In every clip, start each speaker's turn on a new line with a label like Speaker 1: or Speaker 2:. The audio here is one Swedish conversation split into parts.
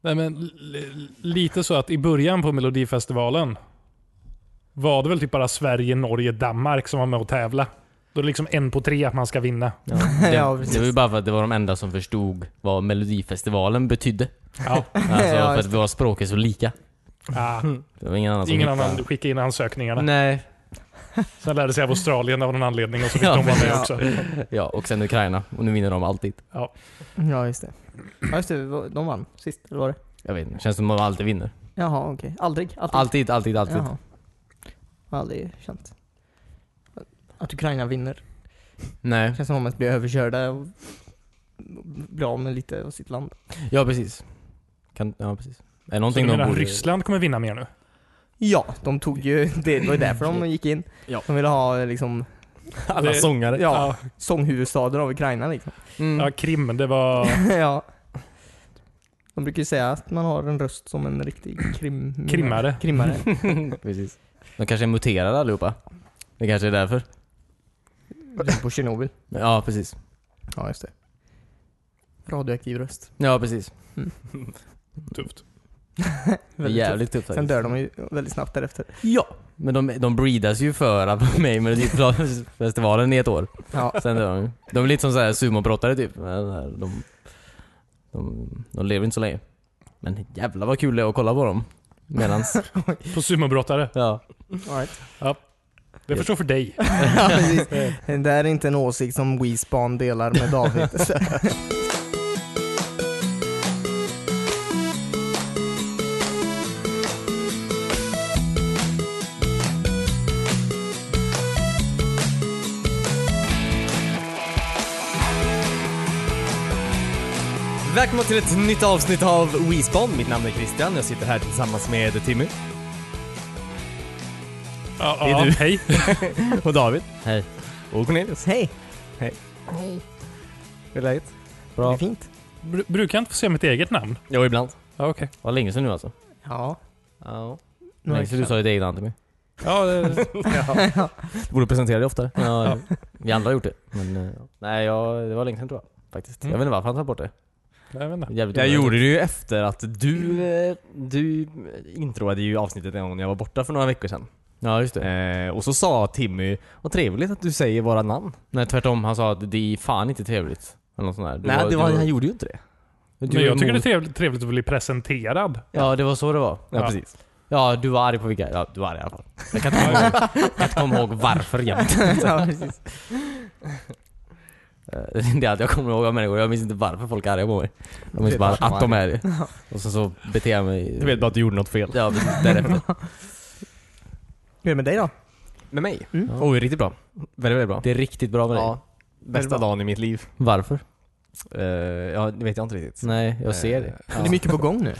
Speaker 1: Nej men l- l- lite så att i början på melodifestivalen var det väl typ bara Sverige, Norge, Danmark som var med och tävla. Då är det liksom en på tre att man ska vinna.
Speaker 2: Ja, det,
Speaker 3: Ja, precis.
Speaker 2: det var ju bara för att det var de enda som förstod vad Melodifestivalen betydde.
Speaker 1: Ja.
Speaker 2: Alltså
Speaker 3: Ja,
Speaker 2: för att
Speaker 3: just
Speaker 2: våra språk är så lika.
Speaker 1: Ah,
Speaker 2: Det var ingen annan som
Speaker 1: ingen
Speaker 2: hittade-
Speaker 1: annan skickade in ansökningarna.
Speaker 2: Nej.
Speaker 1: Sen lärde sig av Australien av någon anledning och så fick
Speaker 2: Ja,
Speaker 1: de vara med
Speaker 3: ja.
Speaker 1: också.
Speaker 2: Ja, och sen Ukraina. Och nu vinner de alltid.
Speaker 3: Ja, just det. Ja, just det. De vann sist, eller var det?
Speaker 2: Jag vet inte, känns som att de alltid vinner.
Speaker 3: Jaha, okej. Aldrig? Alltid?
Speaker 2: Alltid, alltid, alltid.
Speaker 3: Jaha. Jag har aldrig känt att Ukraina vinner.
Speaker 2: Nej.
Speaker 3: Det känns som om att bli överkörda och bli av med lite av sitt land.
Speaker 2: Ja, precis. Kan, ja, precis. Är det
Speaker 1: Så du
Speaker 2: någonting de
Speaker 1: menar
Speaker 2: borde...
Speaker 1: Ryssland kommer vinna mer nu?
Speaker 3: Ja, de tog ju, det var ju därför de gick in.
Speaker 2: Ja.
Speaker 3: De ville ha liksom
Speaker 2: Alla
Speaker 1: Det-
Speaker 2: sångare.
Speaker 3: Ja. sånghuvudstaden av Ukraina liksom.
Speaker 2: Mm.
Speaker 1: Ja, Krim, det var...
Speaker 3: ja. De brukar ju säga att man har en röst som en riktig krim...
Speaker 1: Krimmare.
Speaker 3: Krimmare.
Speaker 2: precis. De kanske är muterade allihopa. Det kanske är därför.
Speaker 3: Precis på Tjernobyl.
Speaker 2: Ja, precis.
Speaker 3: Ja, just det. Radioaktiv röst.
Speaker 2: Ja, precis.
Speaker 1: Tufft.
Speaker 2: Det är jävligt tufft
Speaker 3: Sen
Speaker 2: faktiskt.
Speaker 3: dör de ju väldigt snabbt därefter.
Speaker 2: Ja. Men de, de breedas ju för att vara med i Melodifestivalen i ett år.
Speaker 3: Ja.
Speaker 2: Sen dör de ju. De är lite som så här sumobrottare typ. De, de, de, de lever inte så länge. Men jävlar vad kul det är att kolla på dem. Medans,
Speaker 1: På sumobrottare.
Speaker 2: ja.
Speaker 3: All right.
Speaker 1: Det förstår för dig.
Speaker 3: ja, precis. det där är inte en åsikt som WeSpan delar med David. Så-
Speaker 4: Välkomna till ett nytt avsnitt av WeSpawn. Mitt namn är Christian. Jag sitter här tillsammans med Timmy
Speaker 1: Ja,
Speaker 4: är
Speaker 1: ja,
Speaker 4: du.
Speaker 1: hej.
Speaker 4: och David
Speaker 2: Hej.
Speaker 4: och Cornelius.
Speaker 3: Hej!
Speaker 4: Hej.
Speaker 3: Hej.
Speaker 4: Hur är läget?
Speaker 3: Det är
Speaker 2: Bra.
Speaker 3: fint.
Speaker 1: Bru- Brukar jag inte få se mitt eget namn?
Speaker 2: Jo, ibland.
Speaker 1: Ja, okej.
Speaker 2: Var länge sedan nu alltså.
Speaker 3: Ja.
Speaker 2: Ja.
Speaker 3: Nu har
Speaker 2: Länge sedan du
Speaker 3: jag-
Speaker 2: sa ditt eget namn till mig.
Speaker 1: Ja, det-
Speaker 4: Du borde presentera dig oftare.
Speaker 2: Ja, Vi andra har gjort det. Men, eh, ja. nej, jag, det var länge sedan tror jag. Faktiskt.
Speaker 1: Mm.
Speaker 2: Jag vet inte varför han tar bort det.
Speaker 1: jag vet inte.
Speaker 2: Jävligt
Speaker 4: Jag
Speaker 2: onödigt.
Speaker 4: gjorde det ju efter att du, eh, du introade ju avsnittet en gång när jag var borta för några veckor sedan.
Speaker 2: Ja, just det.
Speaker 4: Eh, och så sa Timmy, vad trevligt att du säger våra namn.
Speaker 2: Nej, tvärtom. Han sa att det är fan inte trevligt. Eller något sånt där. Du
Speaker 4: Nej, det var,
Speaker 2: du
Speaker 4: han gjorde ju inte det.
Speaker 2: du
Speaker 1: Men
Speaker 2: var
Speaker 1: jag tycker det är
Speaker 2: emot-
Speaker 1: trevligt, trevligt att bli presenterad.
Speaker 2: Ja, det var så det var.
Speaker 4: Ja,
Speaker 1: Ja.
Speaker 4: precis.
Speaker 2: Ja, du var arg på vilka? Ja, du var arg i alla fall. Jag kan inte komma ihåg, jag kan inte komma ihåg varför jämt.
Speaker 3: ja, precis.
Speaker 2: Eh, Det är allt jag kommer ihåg av människor. Jag minns inte varför folk är arga på mig. Jag minns
Speaker 3: vet
Speaker 2: bara
Speaker 3: varför de
Speaker 2: att de
Speaker 3: är
Speaker 2: är det. Och sen så beter jag mig...
Speaker 4: Du vet bara att du gjorde något fel.
Speaker 2: Ja, precis. Därefter.
Speaker 3: Hur är det med dig då?
Speaker 4: Med mig?
Speaker 3: Mm.
Speaker 4: Oj, riktigt bra. Väldigt, väldigt bra.
Speaker 2: Det är riktigt bra med dig.
Speaker 4: Ja. Bästa dagen i mitt liv.
Speaker 2: Varför?
Speaker 4: Eh, ja, det vet jag inte riktigt.
Speaker 2: Nej, jag ser
Speaker 4: Eh,
Speaker 2: det.
Speaker 4: ja.
Speaker 3: Det är mycket på gång nu.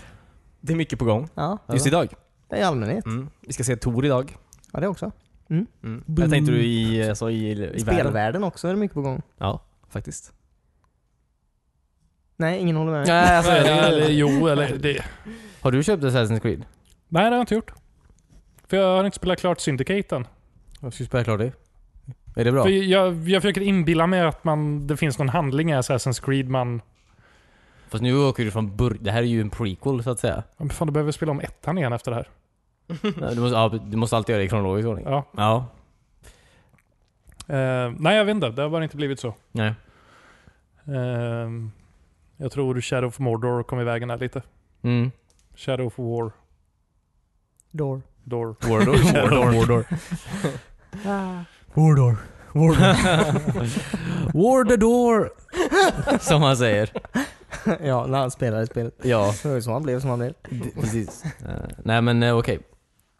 Speaker 4: Det är mycket på gång.
Speaker 3: Ja,
Speaker 4: Just idag.
Speaker 3: det är i allmänhet.
Speaker 4: Mm. Vi ska se Tor idag.
Speaker 3: Ja, det också.
Speaker 4: Mm. Jag tänkte du i, alltså, i, i
Speaker 3: I
Speaker 4: världen.
Speaker 3: spelvärlden också är det mycket på gång.
Speaker 4: Ja, faktiskt.
Speaker 3: Nej, ingen håller med.
Speaker 2: Nej, alltså,
Speaker 1: Eller,
Speaker 2: det-
Speaker 1: eller jo, eller det.
Speaker 2: Har du köpt Assassin's Creed?
Speaker 1: Nej, det har jag inte gjort. För jag har inte spelat klart Syndicate än.
Speaker 2: Jag ska spela klart det. Är det bra?
Speaker 1: För jag, jag försöker inbilla mig att man, det finns någon handling i Assassin's Creed man...
Speaker 2: Fast nu åker du från början. Det här är ju en prequel så att säga.
Speaker 1: Ja, men Fan, du behöver spela om ettan igen efter det här.
Speaker 4: Mm.
Speaker 2: Ja, Du måste, ja, du måste alltid göra det i kronologisk ordning.
Speaker 1: Ja.
Speaker 2: Ja.
Speaker 1: Eh, nej, jag vet inte. Det har bara inte blivit så.
Speaker 2: Nej.
Speaker 1: Eh, jag tror Shadow of Mordor kom i vägen här lite.
Speaker 2: Mm.
Speaker 1: Shadow of War.
Speaker 3: Door.
Speaker 1: Door.
Speaker 2: Wardor. Wardor. Wardor. Wardor. Wardor. Som han säger.
Speaker 3: ja, när han spelade spelet.
Speaker 2: Ja,
Speaker 3: Så var det så han blev som han blev.
Speaker 2: d- precis. Eh, nej men eh, okej.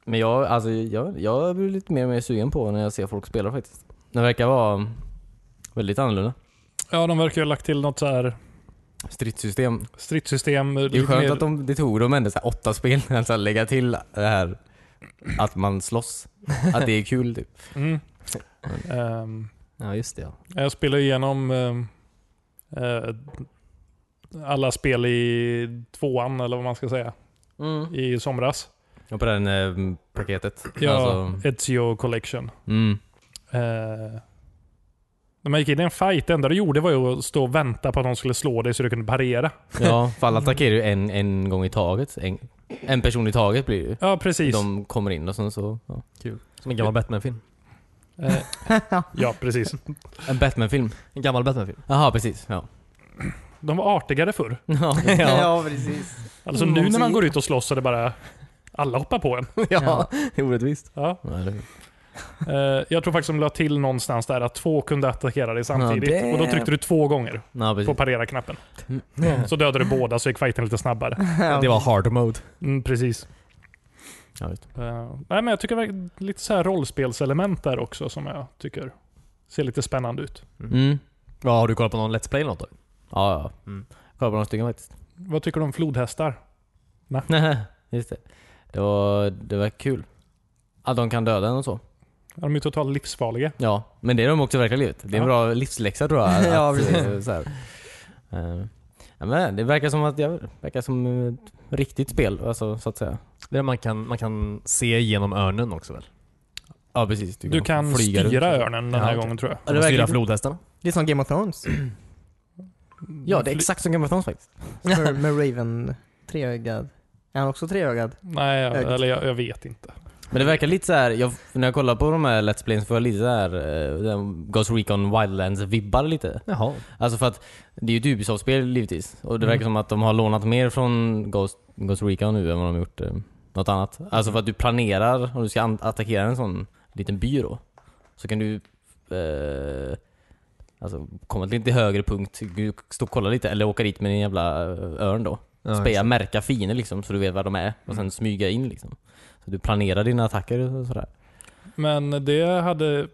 Speaker 2: Men jag, alltså, jag, jag blir lite mer och mer sugen på när jag ser folk spela faktiskt. Det verkar vara väldigt annorlunda.
Speaker 1: Ja, de verkar ju ha lagt till något så här
Speaker 2: Stridssystem
Speaker 1: stridssystem.
Speaker 2: Det är skönt att de, det tog dem ändå så här åtta spel alltså att lägga till det här att man slåss. Att det är kul typ.
Speaker 1: Mm. Ehm,
Speaker 4: Ja, just det ja.
Speaker 1: Jag spelar igenom eh, eh, alla spel i tvåan, eller vad man ska säga, i somras.
Speaker 2: Mm. Och på den eh, paketet.
Speaker 1: Ja,
Speaker 2: Alltså,
Speaker 1: Ezio Collection.
Speaker 2: mm.
Speaker 1: Eh, När man gick in i en fight, det enda du gjorde var ju att stå och vänta på att någon skulle slå dig så du kunde parera.
Speaker 2: Ja, för alla attackerar ju en, en gång i taget. En, en person i taget blir det ju.
Speaker 1: Ja, precis.
Speaker 2: De kommer in och sen så... Ja.
Speaker 4: Kul. Som en gammal Batman-film.
Speaker 1: Eh, ja, precis.
Speaker 2: En Batman-film.
Speaker 4: En gammal Batman-film.
Speaker 2: Jaha, precis. Ja.
Speaker 1: De var artigare förr.
Speaker 2: ja.
Speaker 3: ja, precis.
Speaker 1: Alltså
Speaker 3: Mm,
Speaker 1: nu när man
Speaker 3: precis.
Speaker 1: går ut och slåss så är det bara alla hoppar på en.
Speaker 2: Ja.
Speaker 4: det är orättvist.
Speaker 1: Ja.
Speaker 2: Ja, det-
Speaker 1: Eh, jag tror faktiskt de la till någonstans där att två kunde attackera dig samtidigt.
Speaker 2: Ja, det-
Speaker 1: och då tryckte du två gånger
Speaker 2: Ja,
Speaker 1: på
Speaker 2: precis.
Speaker 1: parera-knappen.
Speaker 2: Mm.
Speaker 1: Så dödade du båda så gick fighten lite snabbare.
Speaker 4: Det var hard mode.
Speaker 1: Mm, precis.
Speaker 2: Ja, just.
Speaker 1: Eh, nej, men jag tycker det var lite så här rollspelselement där också som jag tycker ser lite spännande ut.
Speaker 2: Mm.
Speaker 4: Ja, har du kollat på någon Let's Play eller något då?
Speaker 2: Ja, ja.
Speaker 4: Mm.
Speaker 2: Kolla på några stycken faktiskt.
Speaker 1: Vad tycker du om flodhästar?
Speaker 2: Nej, just det. Det var, det var kul. Att de kan döda en och så.
Speaker 1: Ja, De är ju totalt livsfarliga.
Speaker 2: Ja, men det är de också i verkliga livet. Det är en
Speaker 1: Ja.
Speaker 2: bra livsläxa tror jag. Att,
Speaker 3: Ja,
Speaker 2: eh, så här. Eh, ja, men det verkar som att jag verkar som ett riktigt spel, alltså, så att säga.
Speaker 4: Det är man kan, man kan se genom örnen också väl?
Speaker 2: Ja, precis.
Speaker 1: Du kan
Speaker 2: flyga runt.
Speaker 1: styra örnen den här
Speaker 2: Ja,
Speaker 1: gången tror jag.
Speaker 3: det
Speaker 4: Ja, det
Speaker 3: verkar-
Speaker 4: styra flodhästarna?
Speaker 3: Det är som Game of Thrones.
Speaker 2: Ja, det är exakt som Game of Thrones faktiskt.
Speaker 3: Med, med Raven treögad. Är han också treögad?
Speaker 1: Nej, jag,
Speaker 3: Ögat.
Speaker 1: eller jag, jag vet inte.
Speaker 2: Men det verkar lite så här, jag, när jag kollar på de här Let's Plays får jag lite så här, eh, den Ghost Recon Wildlands-vibbar lite.
Speaker 4: Jaha.
Speaker 2: Alltså för att det är ju ett Ubisoft-spel givetvis. Och det
Speaker 1: Mm.
Speaker 2: verkar som att de har lånat mer från Ghost, Ghost Recon nu än vad de har gjort eh, något annat. Alltså för att du planerar, om du ska an- attackera en sån liten by då. Så kan du eh, alltså, komma till lite högre punkt, du stå och kolla lite, eller åka dit med din jävla eh, örn då. Speja, märka fiender liksom så du vet var de är. Och
Speaker 1: Mm.
Speaker 2: sen smyga in liksom. Så du planerar dina attacker och sådär.
Speaker 1: Men det hade...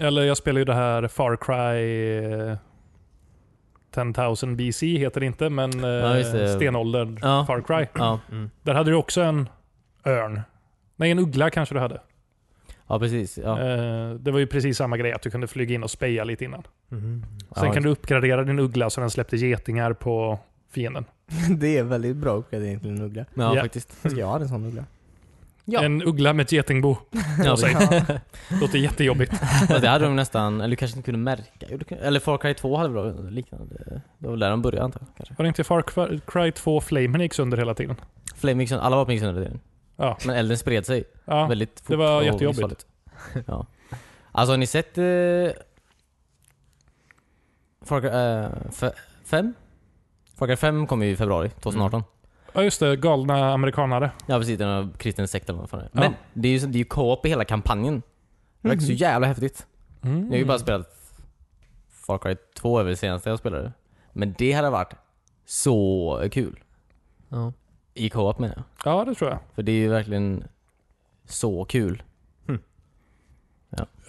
Speaker 1: Eller jag spelar ju det här Far Cry eh, 10,000 BC heter det inte, men eh,
Speaker 2: Ja, just det.
Speaker 1: stenåldern
Speaker 2: Ja.
Speaker 1: Far Cry.
Speaker 2: Ja,
Speaker 4: Mm.
Speaker 1: Där hade du också en örn. Nej, en uggla kanske du hade.
Speaker 2: ja precis. Ja.
Speaker 1: Eh, Det var ju precis samma grej, att du kunde flyga in och speja lite innan. Sen
Speaker 4: Mm.
Speaker 2: Ja,
Speaker 1: kan du uppgradera din uggla så den släppte getingar på fienden.
Speaker 3: Det är väldigt bra uppgradering till en uggla.
Speaker 2: ja,
Speaker 1: Ja.
Speaker 2: faktiskt.
Speaker 3: Ska jag ha en sån uggla?
Speaker 2: Ja.
Speaker 1: En uggla med ett getingbo.
Speaker 2: Ja,
Speaker 1: säg. Låter jättejobbigt.
Speaker 2: Ja, det hade de nästan, eller du kanske inte kunde märka. Jo, du kunde- Eller Far Cry 2 hade väl liknande. Det var väl där de började antar jag. Kanske.
Speaker 1: Var det inte Far Cry- Cry 2 Flamen gick sönder hela tiden?
Speaker 2: Flame gick sönder, alla vapen gick sönder hela tiden.
Speaker 1: Ja.
Speaker 2: Men elden spred sig
Speaker 1: Ja.
Speaker 2: väldigt fort.
Speaker 1: det var
Speaker 2: och
Speaker 1: jättejobbigt.
Speaker 2: livsfarligt. Ja. Alltså har ni sett eh, Far Cry 5? Far Cry 5 kom ju i februari
Speaker 1: Mm.
Speaker 2: 2018.
Speaker 1: Ja just det, galna amerikanare.
Speaker 2: Ja precis, den har kristen sekt eller vad fan det är.
Speaker 1: Ja.
Speaker 2: Men det är ju, det är ju co-op i hela kampanjen. Det verkar så
Speaker 3: Mhm.
Speaker 2: jävla häftigt.
Speaker 1: Mm.
Speaker 2: Jag har ju bara spelat Far Cry 2 över det senaste jag spelade. Men det hade varit så kul.
Speaker 4: Ja.
Speaker 2: I co-op menar jag.
Speaker 1: Ja, det tror jag.
Speaker 2: För det är ju verkligen så kul.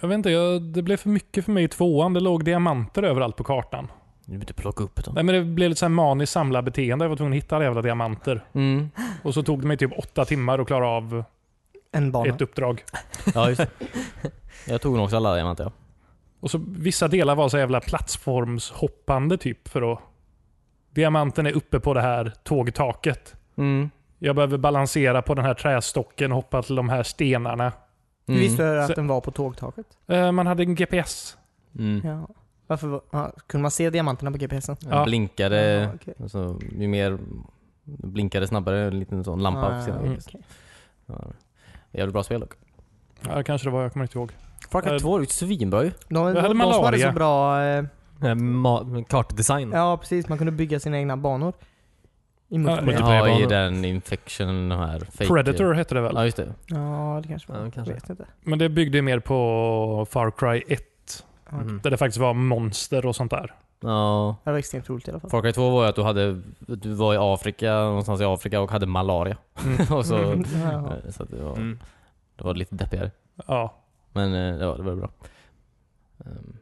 Speaker 1: Jag vet inte, jag, det blev för mycket för mig i tvåan. Det låg diamanter överallt på kartan.
Speaker 2: Du behöver inte plocka upp dem.
Speaker 1: Nej, men det blev lite så här maniskt samlarbeteende. Jag var tvungen att hitta alla jävla diamanter.
Speaker 2: Mm.
Speaker 1: Och så tog det mig typ åtta timmar att klara av
Speaker 3: En bana.
Speaker 1: ett uppdrag.
Speaker 2: Ja, just det. Jag tog nog också alla diamanter ja.
Speaker 1: Och så vissa delar var så här jävla plattformshoppande typ för att... Diamanten är uppe på det här tågtaket.
Speaker 2: Mm.
Speaker 1: Jag behöver balansera på den här trästocken och hoppa till de här stenarna.
Speaker 2: Mm.
Speaker 3: Du visste
Speaker 1: Så-
Speaker 3: att den var på tågtaket?
Speaker 1: Eh, Man hade en GPS.
Speaker 2: Mm.
Speaker 3: Ja. Varför var, ja, kunde man se diamanterna på GPSen?
Speaker 2: Den
Speaker 1: Ja.
Speaker 2: blinkade,
Speaker 3: Ja, okej.
Speaker 2: alltså, ju mer blinkade snabbare, en liten sån lampa på
Speaker 3: Ah,
Speaker 2: sidan.
Speaker 1: Mm.
Speaker 3: okej.
Speaker 2: Ja. Jävligt bra spel dock.
Speaker 1: Ja, kanske det var, jag kommer inte ihåg.
Speaker 2: Far Cry
Speaker 1: Eh.
Speaker 2: 2 är ju svinbra ju.
Speaker 3: De,
Speaker 1: Jag hade
Speaker 3: de, de som hade
Speaker 1: malaria.
Speaker 3: så bra... Eh,
Speaker 4: Kartdesign.
Speaker 3: ja, precis. Man kunde bygga sina egna banor. I multiplayer.
Speaker 2: Ja, i
Speaker 4: Multiplayer-banor.
Speaker 2: den infection, de här fake...
Speaker 1: Predator hette det väl?
Speaker 2: Ja, just det.
Speaker 3: Ja, det kanske var.
Speaker 4: Ja, kanske.
Speaker 3: Jag vet inte.
Speaker 1: Men det byggde ju mer på Far Cry 1.
Speaker 3: Ja, okej.
Speaker 4: Mm.
Speaker 1: Där det faktiskt var monster och sånt där.
Speaker 2: Ja.
Speaker 3: Det var extremt roligt i alla fall.
Speaker 2: Far Cry 2 var ju att du, hade, du var i Afrika, någonstans i Afrika och hade malaria. och så,
Speaker 3: Mm, ja.
Speaker 2: alltså, eh, så att det, var,
Speaker 4: Mm.
Speaker 2: det var lite deppigare.
Speaker 1: Ja.
Speaker 2: Men eh, ja, det var bra. Ehm,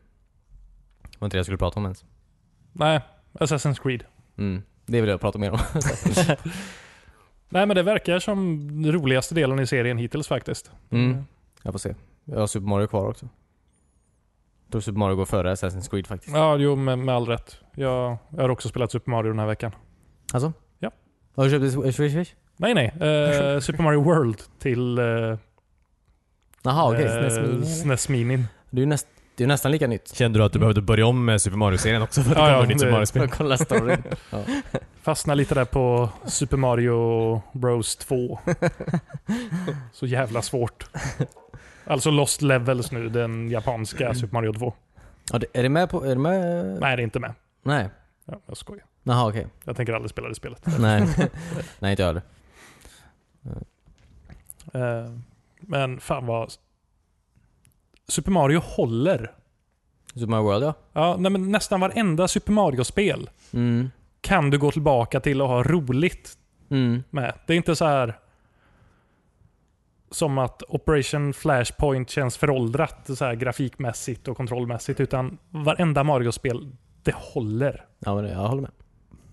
Speaker 2: Det var inte det jag skulle prata om ens.
Speaker 1: Nej, Assassin's Creed.
Speaker 2: Mm. Det vill jag prata mer om.
Speaker 1: Nej men det verkar som den roligaste delen i serien hittills faktiskt.
Speaker 2: Mm. Jag får se. Jag har Super Mario kvar också. Jag tror Super Mario går före Assassin's Creed faktiskt.
Speaker 1: Ja, jo med, med all rätt. Jag, jag har också spelat Super Mario den här veckan.
Speaker 2: Alltså?
Speaker 1: Ja.
Speaker 2: Har du köpt det? Swish Swish?
Speaker 1: Nej nej, eh, Super Mario World till eh,
Speaker 2: Jaha okej.
Speaker 1: eh,
Speaker 3: Snes Mini, eller?
Speaker 1: SNES Minin.
Speaker 2: Det är ju näst, Det är ju nästan lika nytt.
Speaker 4: Kände du att du behövde börja om med Super Mario-serien också för att
Speaker 1: Ja,
Speaker 4: det
Speaker 1: ja,
Speaker 4: kommer ett nytt Super
Speaker 1: det-
Speaker 2: För
Speaker 4: Mario-spel?
Speaker 2: att kolla storyn. ja.
Speaker 1: Fastnar lite där på Super Mario Bros 2. Så jävla svårt. Alltså Lost Levels nu, den
Speaker 3: Mm.
Speaker 1: japanska Super Mario 2.
Speaker 2: Ja, det, är det med på... Är det med?
Speaker 1: Nej, det är inte med.
Speaker 2: Nej.
Speaker 1: Ja, jag skojar.
Speaker 2: Jaha, okej.
Speaker 1: Jag tänker aldrig spela det spelet.
Speaker 2: Nej. Nej, inte jag heller.
Speaker 1: Eh, Men fan vad... Super Mario håller.
Speaker 2: Super Mario World ja.
Speaker 1: Ja, nej, men nästan varenda Super Mario-spel
Speaker 2: Mm.
Speaker 1: kan du gå tillbaka till och ha roligt
Speaker 2: Mm.
Speaker 1: med. Det är inte så här som att Operation Flashpoint känns föråldrat så här grafikmässigt och kontrollmässigt. Utan varenda Mario-spel, det håller.
Speaker 2: Ja, men det, jag håller med.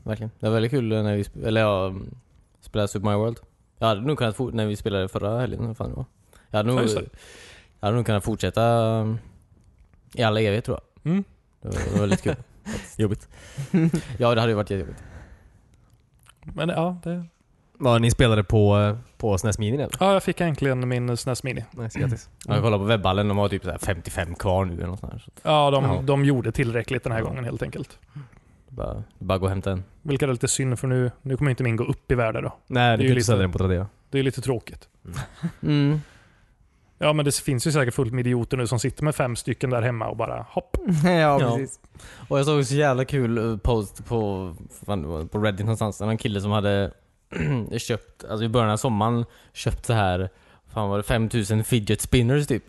Speaker 2: Verkligen. Det var väldigt kul eh, när vi sp- eller jag mm, spelade Super Mario World. Jag hade nog kunnat fort- när vi spelade förra helgen, vad fan det var. Jag hade nog,
Speaker 1: Ja, just det.
Speaker 2: jag hade nog kunnat fortsätta mm, i all evighet tror jag.
Speaker 1: Mm.
Speaker 2: Det var, det var väldigt kul. Jobbigt. Ja, det hade ju varit jättejobbigt.
Speaker 1: Men ja, det...
Speaker 4: Ja, ni spelade på, eh, på SNES Mini eller? Mm.
Speaker 1: ja jag fick äntligen min SNES Mini.
Speaker 4: Nice, grattis.
Speaker 2: Jag kollade på webballen, de har typ så här 55 kvar nu eller något sånt här. Så
Speaker 1: Ja, de,
Speaker 2: Ja.
Speaker 1: de gjorde tillräckligt den här
Speaker 2: Ja.
Speaker 1: gången helt enkelt.
Speaker 2: det är bara, det är bara gå och hämta en.
Speaker 1: Vilket är lite synd för nu, nu kommer inte min gå upp i värde då. Det
Speaker 4: Nej,
Speaker 1: är
Speaker 4: ni
Speaker 1: ju
Speaker 4: kunde
Speaker 1: lite-
Speaker 4: inte sälja den på Tradera.
Speaker 1: Det är lite tråkigt.
Speaker 2: Mm.
Speaker 1: Ja, men det finns ju säkert fullt med idioter nu som sitter med fem stycken där hemma och bara hopp.
Speaker 3: ja,
Speaker 2: Ja.
Speaker 3: precis.
Speaker 2: Och jag såg så jävla kul eh, post på, fan, det var på Reddit någonstans. Det var en kille som hade köpt, alltså i början av sommaren, köpt så här, fan var det 5000 fidget spinners typ.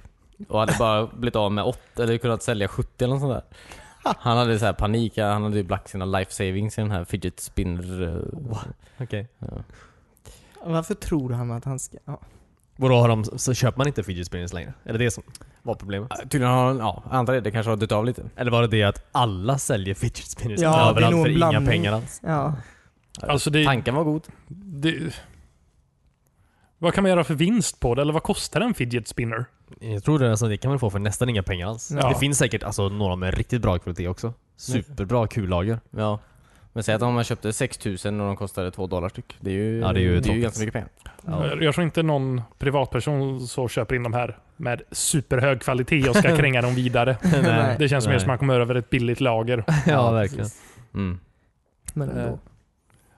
Speaker 2: Och hade bara blivit av med 8, eller kunnat sälja 70 eller något sånt där. Han hade så här panik, han hade typ lagt sina life savings i den här fidget spinner... eh,
Speaker 4: Okej.
Speaker 2: Ja.
Speaker 3: Varför tror han att han ska... Ja.
Speaker 4: Vadå, har de, så köper man inte fidget spinners längre? Är det det som var problemet?
Speaker 2: Ja, Tydligen har han, ja, jag antar det, det kanske har dött av lite.
Speaker 4: Eller var det det att alla säljer fidget spinners
Speaker 3: Ja, det är
Speaker 4: överallt
Speaker 3: nog
Speaker 4: för
Speaker 3: en blandning.
Speaker 4: inga pengar alls?
Speaker 3: ja.
Speaker 1: Alltså det,
Speaker 2: Tanken var god.
Speaker 1: det... Vad kan man göra för vinst på det? Eller vad kostar en fidget spinner?
Speaker 4: Jag tror det, alltså, det kan man få för nästan inga pengar alls.
Speaker 1: Ja.
Speaker 4: Det finns säkert alltså, några med riktigt bra kvalitet också. Superbra kullager.
Speaker 2: Ja. Men säg att om man köpte 6000 och de kostade 2 dollar styck. Det är ju,
Speaker 4: Ja, det är ju
Speaker 2: det är ju
Speaker 4: toppen.
Speaker 2: ganska mycket pengar.
Speaker 4: Ja.
Speaker 1: Jag tror inte någon privatperson så köper in de här med superhög kvalitet och ska kränga dem vidare.
Speaker 3: Nej.
Speaker 1: Det känns mer
Speaker 4: Nej.
Speaker 1: som att man kommer över ett billigt lager.
Speaker 4: ja, verkligen.
Speaker 3: precis.
Speaker 2: Mm.
Speaker 3: Men
Speaker 1: Eh,
Speaker 3: ändå.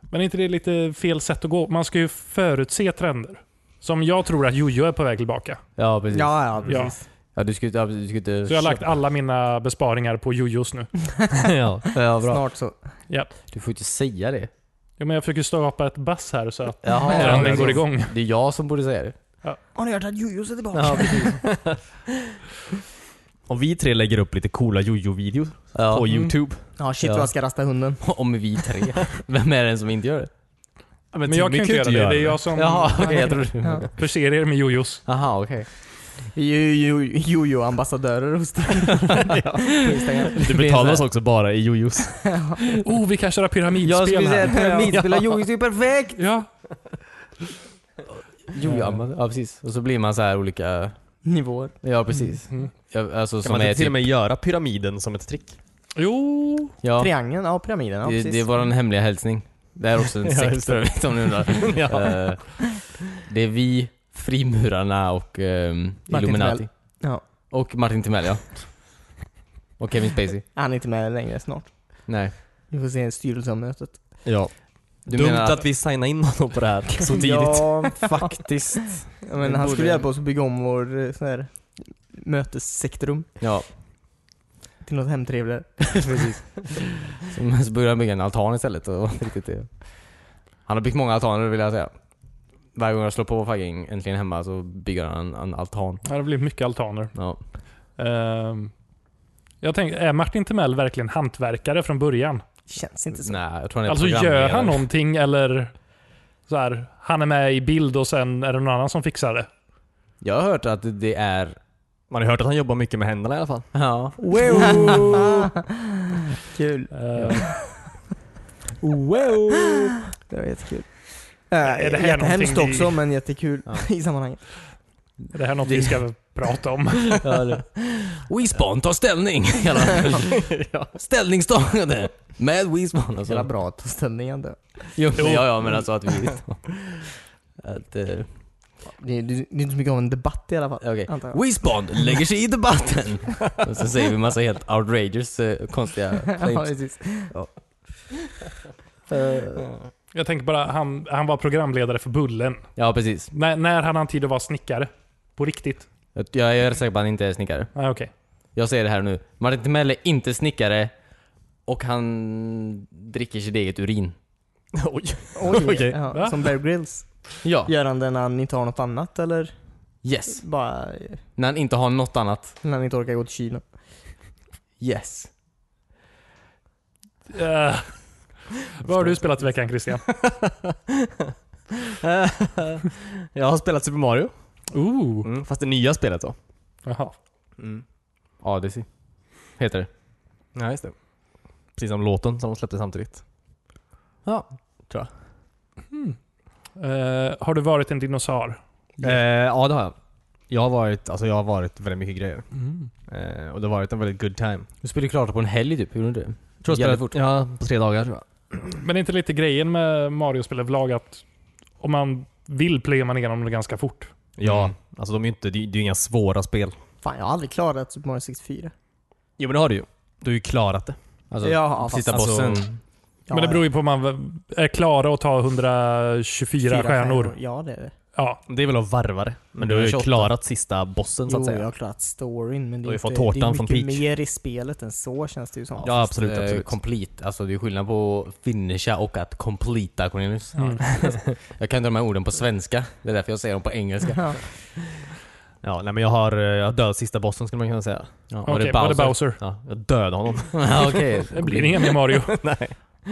Speaker 1: Men är inte det lite fel sätt att gå? Man ska ju förutse trender. Som jag tror att Jojo är på väg tillbaka.
Speaker 2: Ja, precis.
Speaker 3: Ja, ja,
Speaker 1: Ja.
Speaker 3: precis.
Speaker 2: Ja, du skulle, ja, du skulle inte...
Speaker 1: Så jag har lagt alla mina besparingar på Jojos nu.
Speaker 4: ja.
Speaker 2: Ja, bra.
Speaker 3: Snart så.
Speaker 2: Du får inte säga det.
Speaker 1: Ja, men jag försöker skapa ett bass här så att
Speaker 2: Jaha,
Speaker 3: Ja,
Speaker 1: trenden
Speaker 3: precis.
Speaker 1: går igång.
Speaker 2: Det är jag som borde säga det.
Speaker 3: Har ni hört att Jojo är tillbaka?
Speaker 4: Om vi tre lägger upp lite coola jojo-videor
Speaker 2: Ja.
Speaker 4: på youtube.
Speaker 3: Ja, shit
Speaker 2: Ja.
Speaker 3: vad jag ska rasta hunden.
Speaker 2: Om vi tre. Vem är den som inte gör det?
Speaker 1: Men, jag kan
Speaker 4: Timmy
Speaker 1: inte göra det. Det är jag som
Speaker 2: Jaha, okej. jag tror
Speaker 3: Ja.
Speaker 2: du...
Speaker 1: förser er med jojos.
Speaker 2: Jaha, okej.
Speaker 3: Vi är ju Jojo-ambassadörer hos dig. På Instagram.
Speaker 4: Du
Speaker 2: Det är så
Speaker 4: betalar
Speaker 2: här.
Speaker 4: oss också bara i jojos.
Speaker 1: Oh, vi kan köra
Speaker 3: Jag
Speaker 1: pyramidspel
Speaker 3: skulle säga
Speaker 1: här.
Speaker 3: att pyramidspela Jojo är ju perfekt!
Speaker 1: Ja.
Speaker 2: Jo, ja, men- ja, precis. Och så blir man så här olika...
Speaker 3: Nivåer.
Speaker 2: Ja, precis. Ja, alltså,
Speaker 4: Kan
Speaker 2: som
Speaker 4: man
Speaker 2: är
Speaker 4: inte till
Speaker 2: typ...
Speaker 4: och med göra pyramiden som ett trick?
Speaker 1: Jo.
Speaker 2: Ja,
Speaker 3: Triangeln, ja pyramiden, ja
Speaker 2: det,
Speaker 3: precis.
Speaker 2: det är vår hemliga hälsning. Det här är också en
Speaker 4: Ja,
Speaker 2: sekt
Speaker 4: just det.
Speaker 2: för övrigt om ni undrar. Eh, det är vi, frimurarna och ehm,
Speaker 3: Martin
Speaker 2: Illuminati.
Speaker 3: Timell. Ja.
Speaker 2: Och Martin Timell, ja. Och Kevin Spacey.
Speaker 3: Han är inte med längre snart.
Speaker 2: Nej.
Speaker 3: Vi får se en styrelseomötet.
Speaker 4: Ja.
Speaker 2: Du
Speaker 4: Dumt
Speaker 2: menar-
Speaker 4: att vi signade in honom på det här så typ- tidigt.
Speaker 3: Ja,
Speaker 2: Faktiskt.
Speaker 3: ja, men han skulle hjälpa oss att bygga om vår eh, sån här mötessektrum
Speaker 2: Ja,
Speaker 3: till något hemtrevligare.
Speaker 2: precis. Så- Men så började han bygga en altan istället. Och det var inte riktigt det. Han har byggt många altaner vill jag säga. Varje gång jag slår på fucking äntligen hemma så bygger han en, en altan.
Speaker 1: Ja, det blir mycket altaner.
Speaker 2: Ja.
Speaker 1: Ehm, jag tänkte, är Martin Timell verkligen hantverkare från början?
Speaker 3: Känns inte så.
Speaker 2: Nej, jag tror han är
Speaker 1: Alltså gör
Speaker 2: programledare.
Speaker 1: han någonting eller så här, han är med i bild och sen är det någon annan som fixar det?
Speaker 2: Jag har hört att det är...
Speaker 4: Man har hört att han jobbar mycket med händerna i alla fall.
Speaker 2: Ja.
Speaker 3: Wow! Kul.
Speaker 1: Ehm,
Speaker 2: Wow!
Speaker 3: Det var jättekul.
Speaker 1: Är det
Speaker 3: Äh,
Speaker 1: här
Speaker 3: jättehemskt
Speaker 1: någonting vi-
Speaker 3: också men jättekul
Speaker 2: Ja.
Speaker 3: i sammanhanget.
Speaker 1: är det här något vi ska prata om?
Speaker 2: WeSpan tar ställning! Hela- Ställningstagande! Med WeSpan
Speaker 3: Så jävla
Speaker 2: alltså.
Speaker 3: bra att ta ställning ändå.
Speaker 2: Jo, men, ja, ja, men alltså att vi... Att, eh,
Speaker 3: Det, det, det är inte så mycket av en debatt i alla fall.
Speaker 2: Okej.
Speaker 3: Antar jag.
Speaker 2: Wishbond lägger sig i debatten! Och så säger vi massa helt outrageous eh, konstiga
Speaker 3: ja,
Speaker 2: claims.
Speaker 3: precis.
Speaker 2: Ja.
Speaker 3: Eh,
Speaker 1: Jag tänker bara, han, han var programledare för Bullen.
Speaker 2: Ja, precis.
Speaker 1: När, när hade han tid att vara snickare? På riktigt?
Speaker 2: Jag- Jag är rätt säker på att han inte är snickare.
Speaker 1: Nej, okej.
Speaker 2: Jag säger det här nu. Martin Timell är inte snickare och han dricker sitt eget urin.
Speaker 1: Oj.
Speaker 3: Oj,
Speaker 1: Okej.
Speaker 3: ja,
Speaker 1: Va?
Speaker 3: som Bear Grylls.
Speaker 2: Ja.
Speaker 3: Gör han det när han inte har något annat eller
Speaker 2: Yes.
Speaker 3: bara eh,
Speaker 2: När han inte har något annat.
Speaker 3: när han inte orkar gå till Kina?
Speaker 2: Yes.
Speaker 1: Eh, vad har du spelat i veckan Christian?
Speaker 4: jag har spelat Super Mario.
Speaker 1: Ooh.
Speaker 4: Mm, fast det nya spelet då.
Speaker 1: Jaha.
Speaker 2: Mm. Odyssey. Heter det.
Speaker 4: Ja, just det. Precis som låten som de släppte samtidigt. Ja, tror jag.
Speaker 1: Eh, har du varit en dinosaur?
Speaker 4: Eh, ja, det har jag. Jag har varit, alltså jag har varit väldigt mycket grejer. Eh, och det har varit en väldigt good time.
Speaker 2: Du spelade klart på en helg typ, gjorde du inte det?
Speaker 4: Tror jag
Speaker 2: Jävligt
Speaker 4: spelat- Ja, på tre dagar tror jag.
Speaker 1: Men är inte lite grejen med Mario-spel överlag att om man vill plöjer man igenom det ganska fort.
Speaker 4: Ja,
Speaker 2: Mm.
Speaker 4: alltså de är ju inte, det är det är ju inga svåra spel.
Speaker 3: Fan, jag har aldrig klarat Super Mario 64.
Speaker 4: Jo men det har du ju. Du har ju klarat det.
Speaker 2: Alltså,
Speaker 3: ja,
Speaker 2: sista
Speaker 4: fast-
Speaker 2: bossen.
Speaker 4: alltså-
Speaker 3: ja,
Speaker 1: Men det
Speaker 3: ja.
Speaker 1: beror ju på om man är klara och tar 124
Speaker 3: Fyra
Speaker 1: stjärnor.
Speaker 3: Ja, det är det.
Speaker 1: Ja.
Speaker 4: Det är väl att varva det. Men du har ju
Speaker 2: 28.
Speaker 4: klarat sista bossen så att
Speaker 3: Jo,
Speaker 4: säga.
Speaker 3: jag har klarat storyn men
Speaker 4: Du
Speaker 3: det
Speaker 4: har
Speaker 3: är,
Speaker 4: ju
Speaker 3: inte,
Speaker 4: fått
Speaker 3: det är
Speaker 4: tårtan
Speaker 3: mycket
Speaker 4: från Peach.
Speaker 3: mer i spelet än så känns det ju som.
Speaker 4: Ja, absolut,
Speaker 2: fast, eh,
Speaker 4: absolut.
Speaker 2: Complete. Alltså det är skillnad på att finisha och att completa Cornelius.
Speaker 1: Mm.
Speaker 2: Jag kan inte de här orden på svenska. Det är därför jag säger dem på engelska.
Speaker 3: Ja.
Speaker 4: Ja, nej men jag har, eh, jag har dödat sista bossen skulle man kunna säga.
Speaker 2: Ja,
Speaker 1: Okej, var det Bowser?
Speaker 4: Ja, jag dödade honom.
Speaker 2: Ja, Okej.
Speaker 1: Det blir inga mer Mario.
Speaker 2: Typ.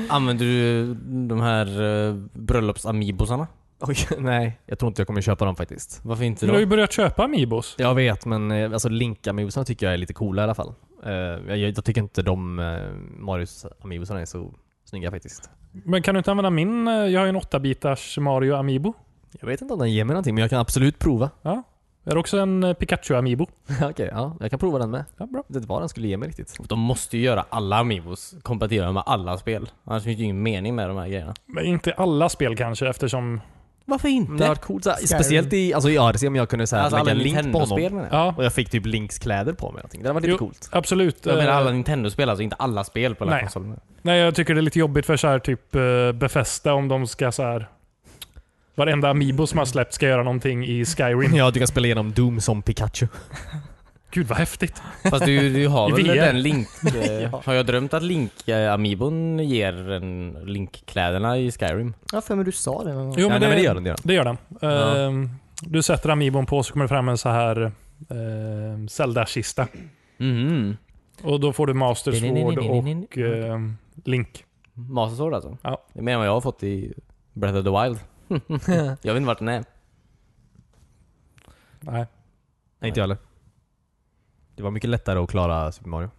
Speaker 2: Använder du de här uh, bröllopsamibosarna?
Speaker 4: Oj, nej. Jag tror inte jag kommer köpa dem faktiskt.
Speaker 2: Varför inte
Speaker 1: Men du har
Speaker 2: då?
Speaker 1: ju börjat köpa Amiibos.
Speaker 4: Jag vet, men eh, alltså Link-amiibosarna tycker jag är lite coola i alla fall. Eh, jag, jag tycker inte de uh, Marios amiibosarna är så snygga faktiskt.
Speaker 1: Men kan du inte använda min? eh, Jag har ju en 8-bitars Mario Amiibo.
Speaker 4: Jag vet inte om den ger mig någonting, men jag kan absolut prova.
Speaker 1: Jag har också en eh, Pikachu Amiibo.
Speaker 4: Okej, ja. Jag kan prova den med.
Speaker 1: Ja, bra.
Speaker 4: Jag vet inte vad den skulle ge mig riktigt.
Speaker 2: De måste ju göra alla amibos kompatibla med alla spel. Annars finns det ju ingen mening med de här grejerna.
Speaker 1: Men inte alla spel kanske eftersom...
Speaker 2: Varför
Speaker 4: Men det har
Speaker 2: inte?
Speaker 4: varit coolt. såhär,
Speaker 3: Skyrim.
Speaker 4: Speciellt i, alltså i Odyssey om jag kunde såhär,
Speaker 2: Mm. Alltså alla
Speaker 4: lägga Link på honom.
Speaker 2: Nintendo-spel menar jag.
Speaker 1: Ja,
Speaker 4: Och jag fick typ Links kläder på mig. och allting. Det hade varit
Speaker 1: Jo.
Speaker 4: lite coolt.
Speaker 1: absolut.
Speaker 2: Jag menar
Speaker 1: Eh,
Speaker 2: alla Nintendo-spel, alltså inte alla spel på alla
Speaker 1: Nej.
Speaker 2: konsolerna.
Speaker 1: Nej, jag tycker det är lite jobbigt för så här typ eh, Befästa om de ska så här. Varenda Amiibo som har släppt ska göra någonting i Skyrim.
Speaker 4: Ja, du kan spela igenom Doom som Pikachu.
Speaker 1: Gud vad häftigt.
Speaker 2: Fast du, du har
Speaker 1: I
Speaker 2: väl
Speaker 1: VR.
Speaker 2: den Link... eh, Har jag drömt att Link-amibon ger en Link-kläderna i Skyrim?
Speaker 3: Jag har för mig du sa det någon gång.
Speaker 1: Jo,
Speaker 4: ja,
Speaker 1: men
Speaker 4: nej,
Speaker 1: det,
Speaker 4: men det
Speaker 1: det,
Speaker 4: gör den. Det gör den.
Speaker 1: gör den. Eh, Du sätter Amiibon på så kommer det fram en så här eh, Zelda-kista.
Speaker 2: Mhm.
Speaker 1: Och då får du Master Sword och eh, Link.
Speaker 2: Master Sword alltså?
Speaker 1: Ja.
Speaker 2: Det är mer än vad jag har fått i Breath of the Wild. jag vet inte vart den är.
Speaker 1: Nej.
Speaker 4: Nej, inte jag heller. Det var mycket lättare att klara Super Mario.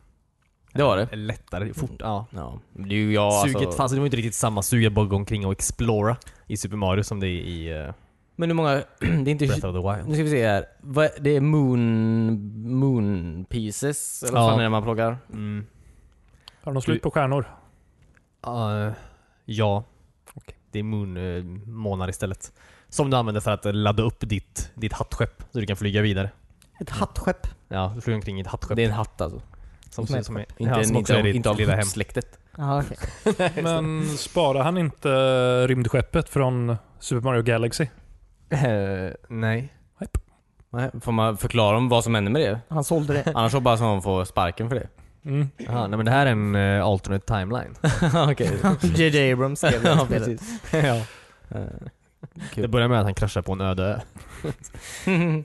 Speaker 2: Det var det.
Speaker 4: Eller Lättare, fort. Ja.
Speaker 2: Ja. Det är ju jag
Speaker 4: Suget
Speaker 2: alltså.
Speaker 4: fanns, det var inte riktigt samma sug att bara gå omkring och explora i Super Mario som det är i eh,
Speaker 2: Men hur många... det är inte...
Speaker 4: Breath of the Wild.
Speaker 2: Nu ska vi se här. Vad, det är moon... Moon pieces? Eller vad
Speaker 4: Ja.
Speaker 2: fan är det man plockar?
Speaker 4: Mm.
Speaker 1: Har de slut på stjärnor?
Speaker 4: Eh, ja. Det är moon, eh, månar istället. Som du använder för att eh, ladda upp ditt, ditt hattskepp så du kan flyga vidare.
Speaker 3: Ett hattskepp.
Speaker 4: Ja, du flyger omkring i ett hattskepp.
Speaker 2: Det är en hatt alltså.
Speaker 3: som
Speaker 4: som, som,
Speaker 3: är-
Speaker 4: som är,
Speaker 2: Inte,
Speaker 4: ja,
Speaker 2: en,
Speaker 4: som
Speaker 2: inte,
Speaker 4: också är
Speaker 2: av-
Speaker 4: ditt
Speaker 2: inte av
Speaker 4: lilla hem.
Speaker 2: släktet.
Speaker 3: Jaha, okej.
Speaker 1: Men sparar han inte eh, rymdskeppet från Super Mario Galaxy?
Speaker 4: Eh, nej.
Speaker 2: Nej, får man förklara om vad som händer med det?
Speaker 3: Han sålde det.
Speaker 2: Annars så bara som man får sparken för det.
Speaker 1: Mm.
Speaker 4: Aha, nej men det här är en eh, alternate timeline.
Speaker 2: Okej.
Speaker 3: JJ Abrams skrev det här
Speaker 2: Ja,
Speaker 3: spelet.
Speaker 2: precis.
Speaker 4: ja.
Speaker 2: Eh,
Speaker 4: Det börjar med att han kraschar på en öde ö.
Speaker 2: Eh.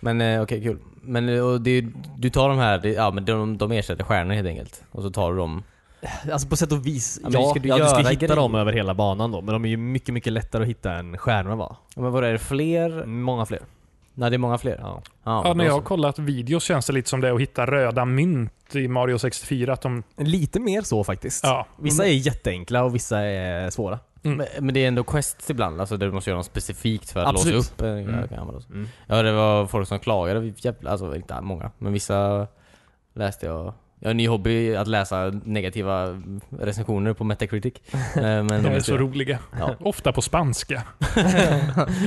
Speaker 2: men eh, okej, kul. Men eh, och det, är- du tar de här, det, ja men de, de ersätter stjärnor helt enkelt. Och så tar du dem.
Speaker 4: Alltså på sätt och vis,
Speaker 2: Ja,
Speaker 4: ja.
Speaker 2: men
Speaker 4: ja,
Speaker 2: ska du
Speaker 4: du ska
Speaker 2: göra
Speaker 4: hitta
Speaker 2: grejer?
Speaker 4: dem över hela banan då. Men de är ju mycket, mycket lättare att hitta än stjärnorna va?
Speaker 2: Ja, men vad är det, fler?
Speaker 4: Många fler.
Speaker 2: Nej det är många fler.
Speaker 4: Ja.
Speaker 2: Ja,
Speaker 1: Ja,
Speaker 2: men
Speaker 1: när jag
Speaker 2: då
Speaker 1: har kollat videos känns det lite som det att hitta röda mynt i Mario 64. Att de,
Speaker 4: Lite mer så faktiskt.
Speaker 1: ja,
Speaker 4: Vissa är jätteenkla och vissa är svåra.
Speaker 2: så. Men, men det är ändå quests ibland, alltså där du måste göra något specifikt för att
Speaker 4: Absolut.
Speaker 2: låsa upp. eh,
Speaker 4: Mm.
Speaker 2: kan man då- Ja det var folk som klagade, jävla, alltså inte många, men vissa läste jag Jag har en ny hobby att läsa negativa recensioner på Metacritic. Eh, Men
Speaker 1: De är så roliga.
Speaker 2: Ja.
Speaker 1: Ofta på spanska.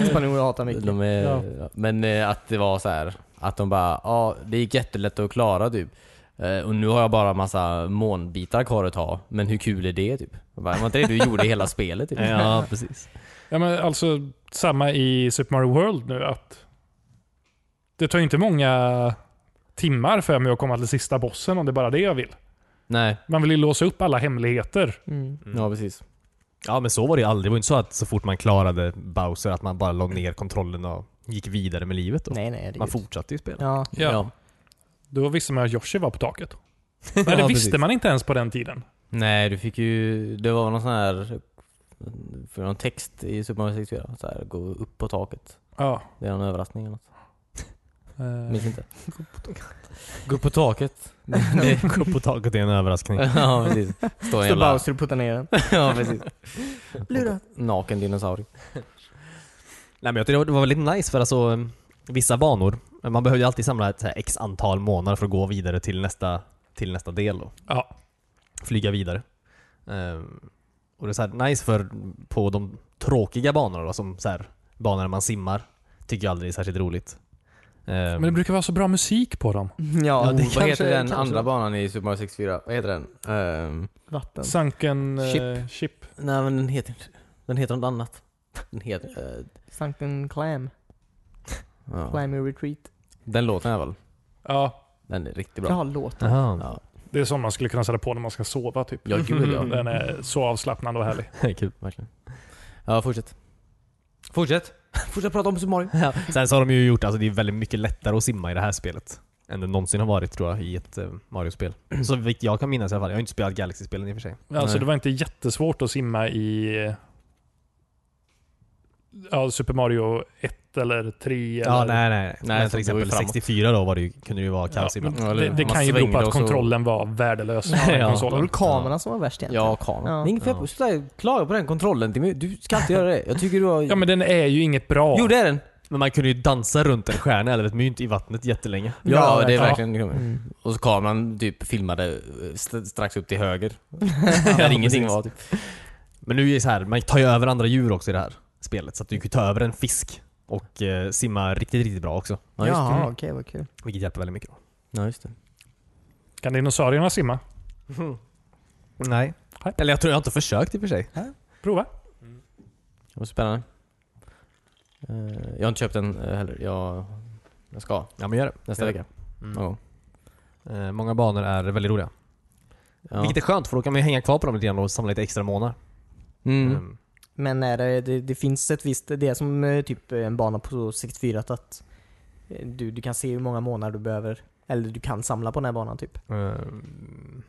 Speaker 3: Spanjor jag hatar mycket.
Speaker 2: De är,
Speaker 1: Ja.
Speaker 2: ja. Men eh, att det var så här att de bara, ja det gick jättelätt att klara typ. Eh, Och nu har jag bara massa månbitar kvar att ta, men hur kul är det typ? Jag bara, Var inte det du gjorde i hela spelet typ?
Speaker 4: Ja, precis.
Speaker 1: Ja, men alltså samma i Super Mario World nu att det tar ju inte många timmar för mig att komma till sista bossen om det är bara det jag vill.
Speaker 2: Nej,
Speaker 1: Man vill ju låsa upp alla hemligheter.
Speaker 3: Mm.
Speaker 2: ja precis.
Speaker 4: Ja, men så var det ju aldrig. Det var inte så att så fort man klarade Bowser att man bara låg ner kontrollen och gick vidare med livet. Då.
Speaker 3: Nej, nej. Det är
Speaker 4: Man
Speaker 3: gud.
Speaker 4: fortsatte ju spela.
Speaker 3: Ja.
Speaker 1: Ja. Då visste man att Yoshi var på taket. Men det
Speaker 2: Ja,
Speaker 1: visste
Speaker 2: precis.
Speaker 1: man inte ens på den tiden.
Speaker 2: Nej, du fick ju, det var någon sån här, för någon text i Super Mario 64, så här, gå upp på taket.
Speaker 1: Ja.
Speaker 2: Det är någon överraskning eller något.
Speaker 1: eh,
Speaker 2: Minns inte. Gå upp på taket.
Speaker 4: Gå på taket är en överraskning.
Speaker 2: ja, precis. Står en
Speaker 3: Så
Speaker 2: jävla...
Speaker 3: Bowser puttar ner den.
Speaker 2: ja, precis.
Speaker 3: Lura.
Speaker 2: Naken dinosaurie.
Speaker 4: Nej, men jag tyckte det var- det var väldigt nice för alltså eh, vissa banor, man behöver ju alltid samla ett så här x antal månader för att gå vidare till nästa, till nästa del då.
Speaker 1: Ja.
Speaker 4: Flyga vidare. Ehm, och det är så här nice för på de tråkiga banorna då, som så här banor där man simmar, tycker jag aldrig är särskilt roligt. Ehm,
Speaker 1: Men det brukar vara så bra musik på
Speaker 3: Mm.
Speaker 1: dem.
Speaker 3: Ja,
Speaker 2: Oh,
Speaker 3: det
Speaker 2: vad
Speaker 3: kanske-
Speaker 2: heter den
Speaker 3: kanske
Speaker 2: andra banan i Super Mario 64? Vad heter den? Ehm,
Speaker 3: Vatten.
Speaker 1: Sunken eh,
Speaker 3: Chip.
Speaker 1: chip.
Speaker 2: nej men den heter inte... Den heter något annat. Den heter... eh,
Speaker 3: Sunken Clam.
Speaker 2: ja.
Speaker 3: Clammy Retreat.
Speaker 2: Den låten är väl?
Speaker 1: Ja,
Speaker 2: Den är riktigt bra.
Speaker 3: Bra låt.
Speaker 4: Jaha,
Speaker 2: Ja,
Speaker 1: det är sånt man skulle kunna sätta på när man ska sova typ.
Speaker 2: ja gud ja.
Speaker 1: Den är så avslappnande och härlig.
Speaker 4: kul.
Speaker 2: Verkligen. Ja, fortsätt. Fortsätt! Fortsätt prata om Super Mario.
Speaker 4: Ja. Sen så har de ju gjort, alltså det är väldigt mycket lättare att simma i det här spelet än det någonsin har varit tror jag i ett eh, Mario-spel. Så vitt jag kan minnas i alla fall. Jag har inte spelat Galaxy-spelen i och för sig.
Speaker 1: Alltså
Speaker 2: Nej.
Speaker 1: det var inte jättesvårt att simma i eh, ja, Super Mario 1 eller 3.
Speaker 4: Ja,
Speaker 1: eller,
Speaker 4: nej, nej.
Speaker 2: Nej,
Speaker 4: men
Speaker 2: så
Speaker 4: till
Speaker 2: det går ju
Speaker 4: exempel
Speaker 2: framåt.
Speaker 4: 64 då var det ju, kunde det ju vara
Speaker 1: Ja,
Speaker 4: kaos ibland.
Speaker 1: men det, det
Speaker 2: Man
Speaker 1: kan ju bero på
Speaker 2: svängde
Speaker 1: att
Speaker 2: och så-
Speaker 1: kontrollen var värdelös på
Speaker 4: Ja.
Speaker 1: den
Speaker 3: Det var
Speaker 1: konsolen.
Speaker 3: väl kamerorna som var värst egentligen?
Speaker 2: Ja, kameran.
Speaker 3: Ja.
Speaker 2: Det är inget fel på Sluta klaga på den kontrollen till mig. Du ska inte göra det. Jag tycker du har...
Speaker 1: Ja men den är ju inget bra.
Speaker 2: Jo det är den!
Speaker 4: Men man kunde ju dansa runt en stjärna eller ett mynt i vattnet jättelänge.
Speaker 2: Ja,
Speaker 3: Ja,
Speaker 2: det är
Speaker 1: ja.
Speaker 2: verkligen...
Speaker 3: Mm.
Speaker 2: Och så kameran typ filmade eh, st- strax upp till höger. Där ingenting var typ.
Speaker 4: Men nu är det så här, man tar ju över andra djur också i det här spelet. Så att du kan ju ta över en fisk och eh, simma riktigt, riktigt bra också.
Speaker 2: Ja, just
Speaker 3: Jaha,
Speaker 2: det.
Speaker 3: okej vad kul.
Speaker 4: Vilket hjälper väldigt mycket. Då.
Speaker 2: Ja, just det.
Speaker 1: Kan dinosaurierna simma?
Speaker 4: Nej.
Speaker 1: Nej.
Speaker 4: Eller jag tror jag har inte försökt i och för sig.
Speaker 1: Prova.
Speaker 2: Det var spännande. Eh, jag har inte köpt den eh, heller. Jag, jag ska
Speaker 4: Ja men gör det.
Speaker 2: nästa
Speaker 4: Gör det.
Speaker 2: vecka.
Speaker 4: Mm.
Speaker 2: Någon gång.
Speaker 4: Eh, många banor är väldigt roliga.
Speaker 2: Ja.
Speaker 4: Vilket är skönt för då kan man ju hänga kvar på dem lite grann och samla lite extra månader.
Speaker 2: mm.
Speaker 4: Ehm,
Speaker 3: Men är det, det, det finns ett visst, det är som eh, typ en bana på 64 att- att eh, du, du kan se hur många månader du behöver, eller du kan samla på den här banan typ.
Speaker 4: Ehm,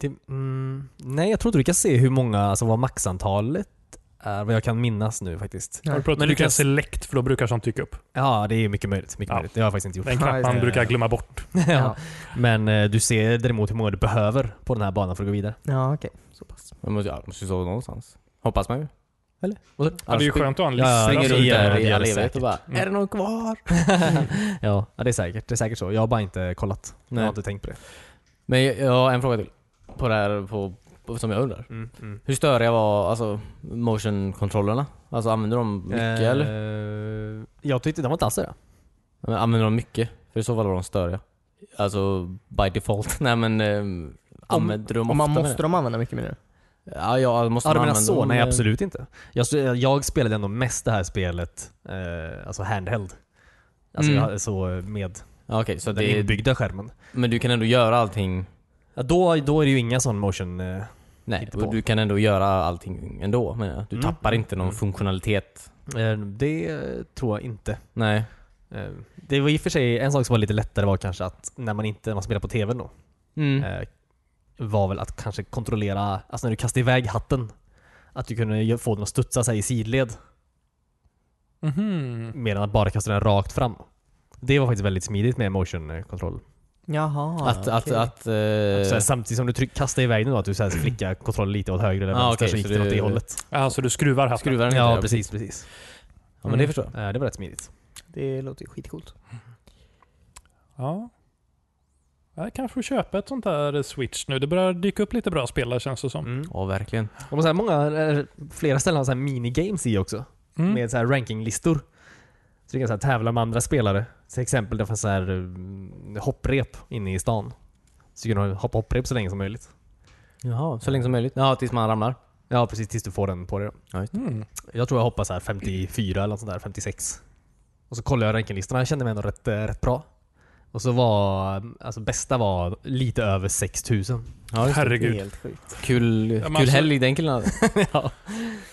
Speaker 4: det, mm, nej, jag tror inte du kan se hur många, alltså vad maxantalet är, vad jag kan minnas nu faktiskt.
Speaker 1: Har du
Speaker 3: Nej.
Speaker 1: pratat
Speaker 4: Men
Speaker 1: men
Speaker 4: du
Speaker 1: du kan
Speaker 4: kan-
Speaker 1: select för då brukar sånt dyka upp.
Speaker 4: Ja, det är mycket möjligt. Mycket
Speaker 1: Ja.
Speaker 4: möjligt. Det har jag faktiskt inte gjort.
Speaker 1: Den
Speaker 3: Ja,
Speaker 1: knapp
Speaker 3: just
Speaker 1: man
Speaker 4: det.
Speaker 1: brukar glömma bort.
Speaker 4: ja. Men eh, du ser däremot hur många du behöver på den här banan för att gå vidare.
Speaker 3: Ja okej, så pass.
Speaker 2: Man måste, ja, man måste ju stå någonstans. Hoppas man ju. Eller?
Speaker 1: Ja, det är ju skönt att ha en
Speaker 4: Ja, ja,
Speaker 1: lista.
Speaker 2: Springer
Speaker 4: det Alltså,
Speaker 2: runt
Speaker 4: ja, det
Speaker 2: där i
Speaker 4: gör
Speaker 2: all
Speaker 4: det
Speaker 2: evighet och bara
Speaker 1: Mm.
Speaker 2: Är det någon kvar?
Speaker 4: ja. ja, det är säkert. Det är säkert så. Jag har bara inte kollat. Jag
Speaker 2: Nej.
Speaker 4: har inte tänkt på det.
Speaker 2: Men jag, jag har en fråga till. På det här på, på, som jag undrar. Hur störiga var alltså, motion-kontrollerna? Alltså använder de mycket
Speaker 4: Eh.
Speaker 2: eller?
Speaker 4: eller? Eh, Jag tyckte de var inte alls det.
Speaker 2: Men Använder de mycket? För i så fall var de störiga. Alltså by default. Nej men um, använder de
Speaker 3: Och man
Speaker 2: ofta
Speaker 3: måste
Speaker 2: med
Speaker 3: de använda mycket mer
Speaker 2: det? Ja, ja, alltså, måste
Speaker 4: Ja,
Speaker 2: man
Speaker 4: du menar
Speaker 2: använda
Speaker 4: så?
Speaker 2: dem,
Speaker 4: Nej,
Speaker 2: eh,
Speaker 4: absolut inte. Jag, jag spelade ändå mest det här spelet, eh, alltså handheld. Alltså
Speaker 2: Mm.
Speaker 4: jag, så med
Speaker 2: Ja, Okej, så
Speaker 4: den
Speaker 2: det är,
Speaker 4: inbyggda skärmen.
Speaker 2: men du kan ändå göra allting?
Speaker 4: Ja, då, då är det ju inga sån motion... Eh,
Speaker 2: Nej,
Speaker 4: Hitta på.
Speaker 2: du kan ändå göra allting ändå menar jag. Du
Speaker 4: Mm.
Speaker 2: tappar inte någon
Speaker 4: Mm.
Speaker 2: funktionalitet.
Speaker 4: eh, det eh, tror jag inte.
Speaker 2: Nej.
Speaker 4: Eh, det var i och för sig en sak som var lite lättare var kanske att när man inte när man spelar på tvn då,
Speaker 2: Mm.
Speaker 4: eh, var väl att kanske kontrollera, alltså när du kastade iväg hatten, att du kunde ju få den att studsa sig i sidled
Speaker 2: mm.
Speaker 1: Mhm.
Speaker 4: medan att bara kasta den rakt fram. Det var faktiskt väldigt smidigt med eh, motion-kontroll.
Speaker 3: Jaha,
Speaker 2: att,
Speaker 4: Ah,
Speaker 2: att,
Speaker 3: okej.
Speaker 2: att, eh,
Speaker 4: Så här, samtidigt som du tryck, kastar iväg den då, att du så här flickar kontrollen lite åt höger eller
Speaker 2: Ah,
Speaker 4: vänster
Speaker 2: okej,
Speaker 4: så gick
Speaker 2: så
Speaker 4: den
Speaker 2: du-
Speaker 4: åt det hållet.
Speaker 1: Ja, så du skruvar hatten.
Speaker 2: skruvar den inte.
Speaker 4: Ja, precis, precis.
Speaker 2: Ja, men det förstår jag.
Speaker 4: Eh, Det var rätt smidigt.
Speaker 3: Det låter ju skitcoolt.
Speaker 1: Ja. Jag kanske får köpa ett sånt här Switch nu. Det börjar dyka upp lite bra spelare känns det som.
Speaker 4: Mm.
Speaker 2: Ja, verkligen.
Speaker 4: Och så här många, eh, flera ställen har så här minigames i också.
Speaker 1: Mm.
Speaker 4: Med så här rankinglistor. Så du kan så här tävla med andra spelare. Till exempel det fanns så här eh, hopprep inne i stan. Så du kan ha- hoppa hopprep så länge som möjligt.
Speaker 2: Jaha, så länge som möjligt. Ja, tills man ramlar.
Speaker 4: Ja precis, tills du får den på dig då.
Speaker 1: Mm.
Speaker 4: Jag tror jag hoppade så här 54 eller något sånt där, 56. Och så kollade jag rankinglistorna, jag kände mig ändå rätt, eh, rätt bra. Och så var, alltså bästa var lite över 6000.
Speaker 2: Ja, just det.
Speaker 1: Herregud.
Speaker 3: Helt sjukt.
Speaker 2: Kul,
Speaker 1: men
Speaker 2: kul
Speaker 1: alltså-
Speaker 2: helg den killen hade.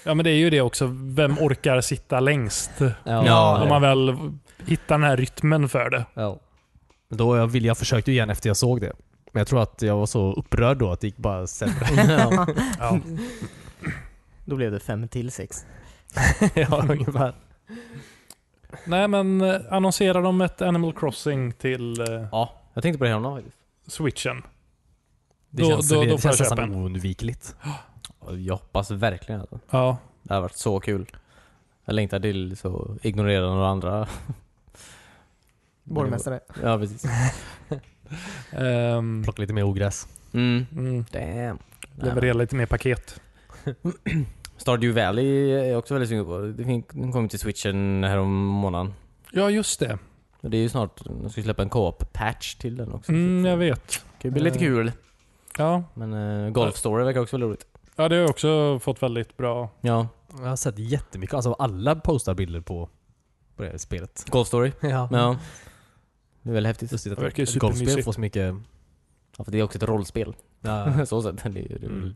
Speaker 1: Ja men det är ju det också. Vem orkar sitta längst?
Speaker 2: Ja,
Speaker 1: Om man väl hittar den här rytmen för det.
Speaker 4: Ja. Men Då jag, ville, jag försökte ju igen efter jag såg det. Men jag tror att jag var så upprörd då att det gick bara sämre.
Speaker 2: ja.
Speaker 1: Ja.
Speaker 3: Då blev det fem till sex.
Speaker 4: ja, ungefär.
Speaker 1: Nej men eh, annonserar de ett Animal Crossing till eh,
Speaker 2: ja, jag tänkte på det häromdagen faktiskt.
Speaker 1: switchen?
Speaker 4: Det
Speaker 1: Då-
Speaker 4: känns,
Speaker 1: då-
Speaker 4: det,
Speaker 1: då
Speaker 4: det
Speaker 1: får jag
Speaker 4: känns
Speaker 1: köpa
Speaker 4: nästan
Speaker 1: en. Mm.
Speaker 4: oundvikligt.
Speaker 2: Ja, Jag hoppas verkligen alltså.
Speaker 1: Ja.
Speaker 2: Det hade varit så kul. Jag längtar till så ignorera några andra.
Speaker 3: Borgmästare.
Speaker 2: Ja, precis.
Speaker 1: Ehm,
Speaker 4: Plocka lite mer ogräs.
Speaker 2: Mm.
Speaker 1: mm,
Speaker 2: Damn. Nej, men-
Speaker 1: leverera lite mer paket.
Speaker 2: Stardew Valley är jag också väldigt sugen på. Det fin- den kom ju till switchen härom månaden.
Speaker 1: Ja just det.
Speaker 2: Och Det är ju snart, de ska släppa en co-op-patch till den också.
Speaker 1: Mm,
Speaker 2: Så
Speaker 1: jag
Speaker 2: att,
Speaker 1: vet.
Speaker 2: Det blir lite
Speaker 1: Eh,
Speaker 2: kul.
Speaker 1: Ja.
Speaker 2: Men eh, Golf Story verkar också väldigt roligt.
Speaker 1: ja, det har jag också fått väldigt bra.
Speaker 2: Ja,
Speaker 4: Jag har sett jättemycket, alltså alla postar bilder på, på det här spelet.
Speaker 2: Golf Story.
Speaker 4: Ja.
Speaker 2: Ja. Det är väldigt häftigt.
Speaker 4: Lustigt att
Speaker 1: Det verkar ju
Speaker 4: ett golfspel
Speaker 1: supermysigt.
Speaker 4: får så mycket...
Speaker 2: Ja, för det är också ett rollspel.
Speaker 4: Ja,
Speaker 2: så sett. Det är, det är väl-
Speaker 4: Mm.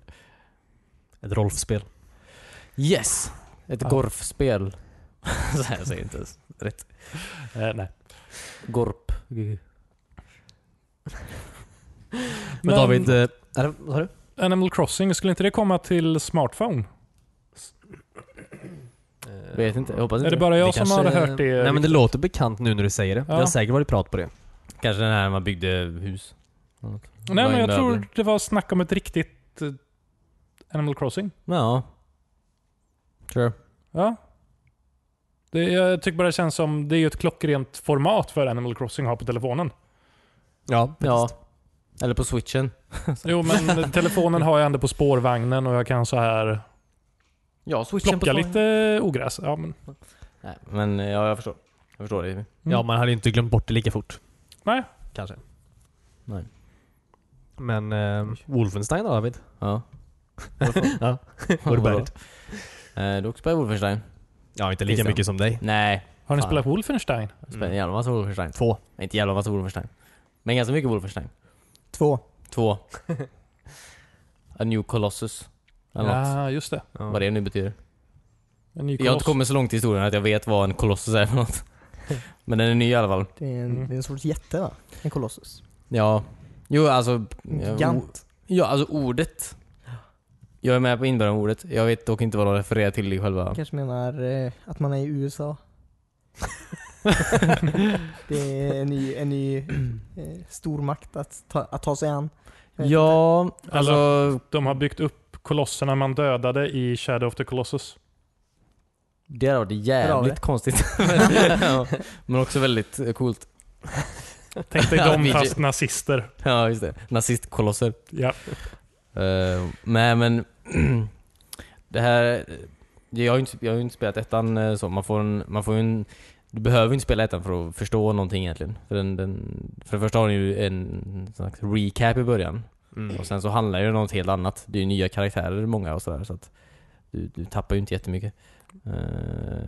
Speaker 4: ett rolfspel.
Speaker 2: Yes! Ett
Speaker 1: Ja.
Speaker 2: gorfspel. så här säger jag inte ens rätt.
Speaker 1: Eh, nej.
Speaker 2: Gorp.
Speaker 4: Men, David, eh, eller, vad sa du?
Speaker 1: Animal Crossing, skulle inte det komma till smartphone?
Speaker 2: Vet inte, jag hoppas inte
Speaker 1: Är det bara jag
Speaker 4: Det
Speaker 1: som
Speaker 4: kanske-
Speaker 1: har hört det?
Speaker 4: Nej men det låter bekant nu när du säger det.
Speaker 1: Eh, Ja.
Speaker 4: Det har säkert varit prat på det.
Speaker 2: Kanske den här man byggde hus. Nej
Speaker 1: Nej, men jag tror det var snack om ett riktigt eh, Animal Crossing.
Speaker 2: Ja. Sure.
Speaker 1: Ja. Det, jag tycker bara det känns som det är ju ett klockrent format för Animal Crossing att ha på telefonen.
Speaker 4: Ja,
Speaker 2: Ja. Eller på switchen.
Speaker 1: Jo, men telefonen har jag ändå på spårvagnen och jag kan så här
Speaker 2: Ja, switchen
Speaker 1: plocka lite ogräs. Ja, men,
Speaker 2: Nej, men eh, ja, jag förstår. Jag förstår det.
Speaker 1: Mm.
Speaker 4: Ja, man hade ju inte glömt bort det lika fort.
Speaker 1: Nej.
Speaker 4: Kanske.
Speaker 2: Nej.
Speaker 4: Men eh, Wolfenstein då David?
Speaker 2: Ja.
Speaker 4: Ja. Var du bärd?
Speaker 2: Eh, Du också spelar Wolfenstein?
Speaker 4: Ja, inte
Speaker 2: Christian.
Speaker 4: som dig.
Speaker 2: Nej.
Speaker 1: har ni
Speaker 2: Fan.
Speaker 1: spelat Wolfenstein?
Speaker 2: Jag spelar en jävla massa Wolfenstein.
Speaker 4: Två.
Speaker 2: Nej, Inte jävla massa Wolfenstein. Men ganska mycket Wolfenstein.
Speaker 3: Två.
Speaker 2: Två. A new Colossus. Eller något.
Speaker 1: Ja, just det.
Speaker 2: Vad det nu betyder.
Speaker 1: En ny
Speaker 2: Jag har
Speaker 1: koloss.
Speaker 2: inte kommit så långt i historien att jag vet vad en kolossus är för något. Men den är ny i alla fall.
Speaker 3: Det är en,
Speaker 1: Mm.
Speaker 3: det är en sorts jätte va? En kolossus.
Speaker 2: Ja. Jo, alltså...
Speaker 3: En
Speaker 2: ja, o-
Speaker 3: gigant.
Speaker 2: Ja, alltså ordet. Jag är med på inbördan av ordet. Jag vet dock inte vad de refererar till i själva...
Speaker 3: Kanske menar eh, att man är i USA. det är en ny, en ny eh, stormakt att ta, att ta sig an. Jag vet
Speaker 2: Ja,
Speaker 1: Alltså-
Speaker 2: alltså...
Speaker 1: De har byggt upp kolosserna man dödade i Shadow of the Colossus.
Speaker 2: Det hade varit
Speaker 3: Bra,
Speaker 2: jävligt
Speaker 3: det.
Speaker 2: konstigt. ja, men också väldigt eh, coolt.
Speaker 1: Tänk dig de
Speaker 2: Vi-
Speaker 1: fast nazister.
Speaker 2: Ja, just det. Nazistkolosser.
Speaker 1: Ja.
Speaker 2: Uh, nej men... det här... Jag har ju inte, jag har ju inte spelat ettan eh, så. Man får, en, man får ju en... Du behöver ju inte spela ettan för att förstå någonting egentligen. För, den, den, för det första har den ju en slags recap i början.
Speaker 4: Mm.
Speaker 2: Och sen så handlar det om något helt annat. Det är ju nya karaktärer många och sådär. Så att du, du tappar ju inte jättemycket. Eh,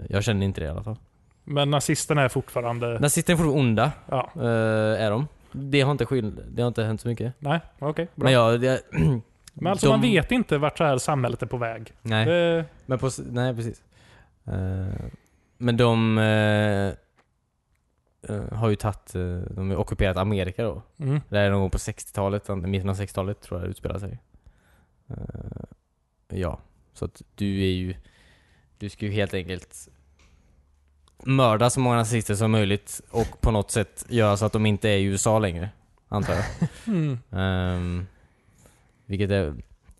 Speaker 2: jag känner inte det i alla fall.
Speaker 1: Men nazisterna är fortfarande...
Speaker 2: Nazisterna är fortfarande onda.
Speaker 1: Ja.
Speaker 2: eh, är de. Det har, inte skill- det har inte hänt så mycket.
Speaker 1: Nej, okej. bra.
Speaker 2: Men
Speaker 1: Men,
Speaker 2: jag... Det,
Speaker 1: alltså
Speaker 2: de-
Speaker 1: man vet inte vart så här samhället är på väg.
Speaker 2: Nej.
Speaker 1: Det,
Speaker 2: Men på, s- nej, precis. Eh, men de eh, eh, har ju tagit, eh, de har ockuperat Amerika då.
Speaker 1: mm.
Speaker 2: Det här är någon gång på 60-talet, an- mitten av 60-talet tror jag det utspelar sig. Eh, ja, så att du är ju, du ska ju helt enkelt mörda så många nazister som möjligt och på något sätt göra så att de inte är i USA längre, antar jag.
Speaker 1: Mm.
Speaker 2: Ehm, vilket är...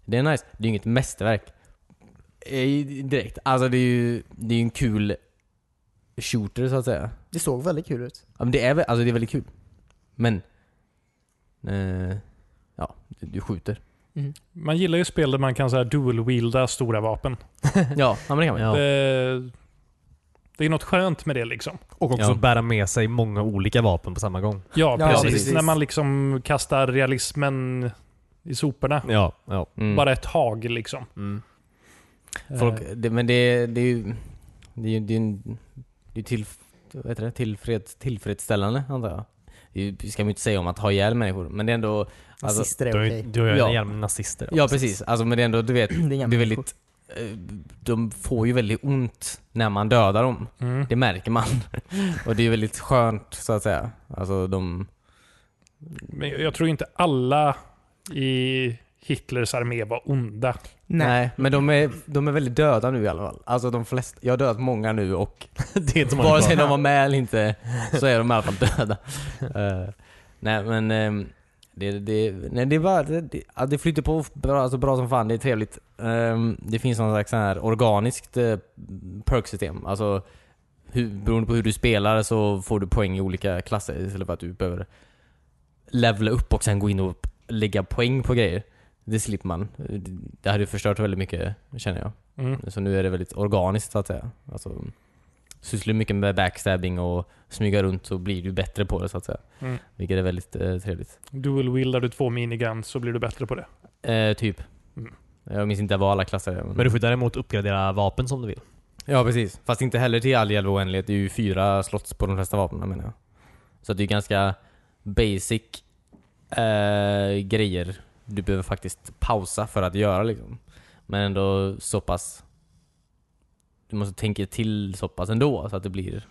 Speaker 2: Det är nice. Det är ju inget mästerverk. Eh, Direkt. Alltså det är ju det är ju en kul shooter så att säga.
Speaker 3: Det såg väldigt kul ut.
Speaker 2: Ja, men det är, väl- alltså det är väldigt kul. Men eh, ja, du, du skjuter.
Speaker 1: Man gillar ju spel där man kan så här dual-wielda stora vapen.
Speaker 2: Ja, ja, men det kan man.
Speaker 4: Ja.
Speaker 1: Det, det är något skönt med det liksom.
Speaker 4: Och också
Speaker 2: Ja.
Speaker 4: bära med sig många olika vapen på samma gång.
Speaker 1: Ja,
Speaker 3: Ja,
Speaker 1: precis.
Speaker 2: precis.
Speaker 1: När man liksom kastar realismen i soporna.
Speaker 4: Ja. ja.
Speaker 2: Mm.
Speaker 1: Bara ett tag liksom.
Speaker 4: Mm.
Speaker 2: Folk,
Speaker 1: Eh,
Speaker 2: det, men det, det är ju... Det är ju det är en, det är till, vad heter det? Tillfreds, tillfredsställande, antar jag. Det är ju- Vi ska ju inte säga om att ha ihjäl människor, men det är ändå... Alltså,
Speaker 3: Nazister är
Speaker 4: Du har
Speaker 3: okej.
Speaker 4: ju du har ju
Speaker 2: Ja.
Speaker 4: en jävla nazister.
Speaker 2: ja, precis. Alltså, men det är ändå, du vet,
Speaker 3: Det är inga
Speaker 2: det är
Speaker 3: människor.
Speaker 2: väldigt... eh, De får ju väldigt ont när man dödar dem.
Speaker 1: mm.
Speaker 2: Det märker man. Och det är ju väldigt skönt, så att säga. Alltså, de...
Speaker 1: Men jag tror inte alla i Hitlers armé var onda.
Speaker 3: Nej.
Speaker 2: men de är, de är väldigt döda nu i alla fall. Alltså de flesta, jag har dödat många nu och
Speaker 4: det är inte så många
Speaker 2: vare sig
Speaker 4: kvar.
Speaker 2: de var med eller inte så är de i alla fall döda. Eh, nej men ehm, det, det, nej, det, är bara, det, det, ja, det flyter på bra, alltså bra som fan, det är trevligt. Ehm, det finns någon slags sån här organiskt eh, perksystem. Alltså hur, beroende på hur du spelar så får du poäng i olika klasser istället för att du behöver levla upp och sen gå in och lägga poäng på grejer. Det slipper man. Det hade ju förstört väldigt mycket känner jag.
Speaker 1: Mm.
Speaker 2: Så nu är det väldigt organiskt så att säga. Alltså, sysslar mycket med backstabbing och smyga runt så blir du bättre på det så att säga.
Speaker 1: Mm.
Speaker 2: Vilket är väldigt eh, trevligt.
Speaker 1: Dual wieldar du två miniguns så blir du bättre på det.
Speaker 2: Eh, typ.
Speaker 1: Mm.
Speaker 2: Jag minns inte vad alla klasser är.
Speaker 4: Men du får däremot uppgradera vapen som du vill.
Speaker 2: Ja precis. Fast inte heller till all jävla oändlighet. Det är ju fyra slotts på de flesta vapnen menar jag. Så att det är ganska basic eh, grejer du behöver faktiskt pausa för att göra liksom. Men ändå så pass... Du måste tänka till så pass ändå så att det blir,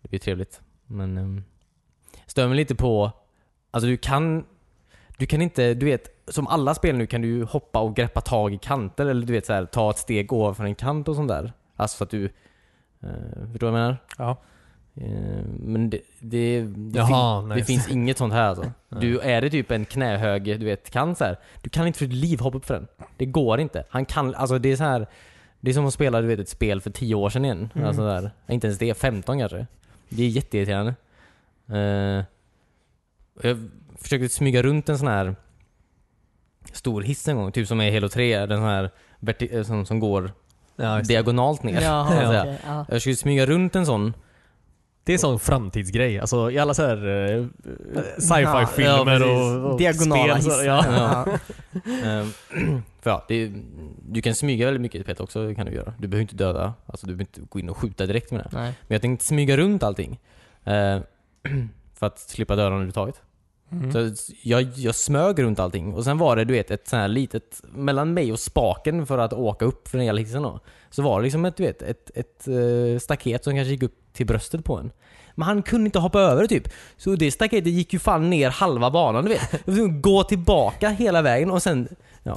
Speaker 2: det blir trevligt. Men... ehm, stör mig lite på... Alltså du kan... Du kan inte, du vet, som alla spel nu kan du ju hoppa och greppa tag i kanter eller du vet så här, ta ett steg ovanför en kant och sånt där. Alltså så att du... Eh, förstår du vad jag menar?
Speaker 1: Ja.
Speaker 2: Eh, men det... det, det
Speaker 4: Jaha,
Speaker 2: fin-
Speaker 4: nice.
Speaker 2: Det finns inget sånt här alltså. Du, är det typ en knähög, du vet, kant så här, du kan inte för ditt liv hoppa upp för den. Det går inte. Han kan, alltså det är så här... Det är som att spela du vet, ett spel för 10 år sedan igen.
Speaker 4: Mm.
Speaker 2: Alltså där. Inte ens det, 15 kanske. Det är jätteirriterande. Eh, jag försökte smyga runt en sån här stor hiss en gång, typ som är i Halo 3, den sån här verti- eh, som, som går
Speaker 4: Ja, just det.
Speaker 2: diagonalt ner.
Speaker 3: Jaha,
Speaker 2: så att säga.
Speaker 3: okej, ja.
Speaker 2: Jag skulle smyga runt en sån.
Speaker 4: det är en sån framtidsgrej. Alltså i alla så här eh,
Speaker 3: Ja,
Speaker 4: sci-fi-filmer
Speaker 2: precis.
Speaker 4: och, och
Speaker 3: Diagonala
Speaker 4: spel. så-
Speaker 3: hissar.
Speaker 4: Ja.
Speaker 3: Ja.
Speaker 2: Eh, för ja, det, är- du kan smyga väldigt mycket Peter också, det kan du göra. Du behöver inte döda, alltså du behöver inte gå in och skjuta direkt med det.
Speaker 3: Nej.
Speaker 2: Men jag tänkte smyga runt allting. eh, för att slippa döda överhuvudtaget.
Speaker 1: Mm.
Speaker 2: Så jag, jag smög runt allting och sen var det du vet ett sånt här litet, mellan mig och spaken för att åka upp för den jävla hissen då. Så var det liksom ett, du vet, ett, ett eh, staket som kanske gick upp till bröstet på en. Men han kunde inte hoppa över det typ. Så det staketet gick ju fan ner halva banan du vet. Jag var tvungen att gå tillbaka hela vägen och sen, ja.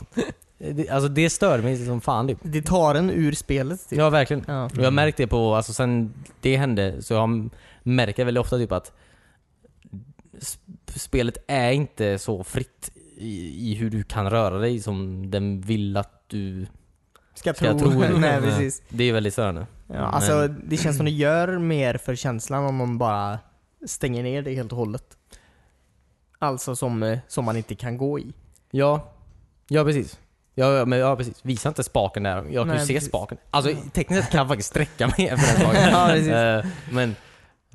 Speaker 2: Det, alltså det störde mig som fan typ.
Speaker 3: Det tar en ur spelet typ.
Speaker 2: Ja verkligen.
Speaker 3: Ja.
Speaker 2: Och jag har märkt det på, alltså sen det hände, så jag märker väldigt ofta typ att sp- spelet är inte så fritt i, i hur du kan röra dig som den vill att du...
Speaker 3: Ska,
Speaker 2: Ska jag
Speaker 3: tro.
Speaker 2: tro?
Speaker 3: Nej, precis.
Speaker 2: Det är väldigt störande.
Speaker 3: Ja, alltså, Det känns som det gör mer för känslan om man bara stänger ner det helt och hållet. Alltså som, eh, som man inte kan gå i.
Speaker 2: Ja, ja precis. Ja, ja, men, ja precis. Visa inte spaken där. Jag kan
Speaker 3: Nej,
Speaker 2: ju se
Speaker 3: precis.
Speaker 2: spaken. Alltså tekniskt sett kan jag faktiskt sträcka mig efter den spaken.
Speaker 3: Ja, precis.
Speaker 2: Eh, men,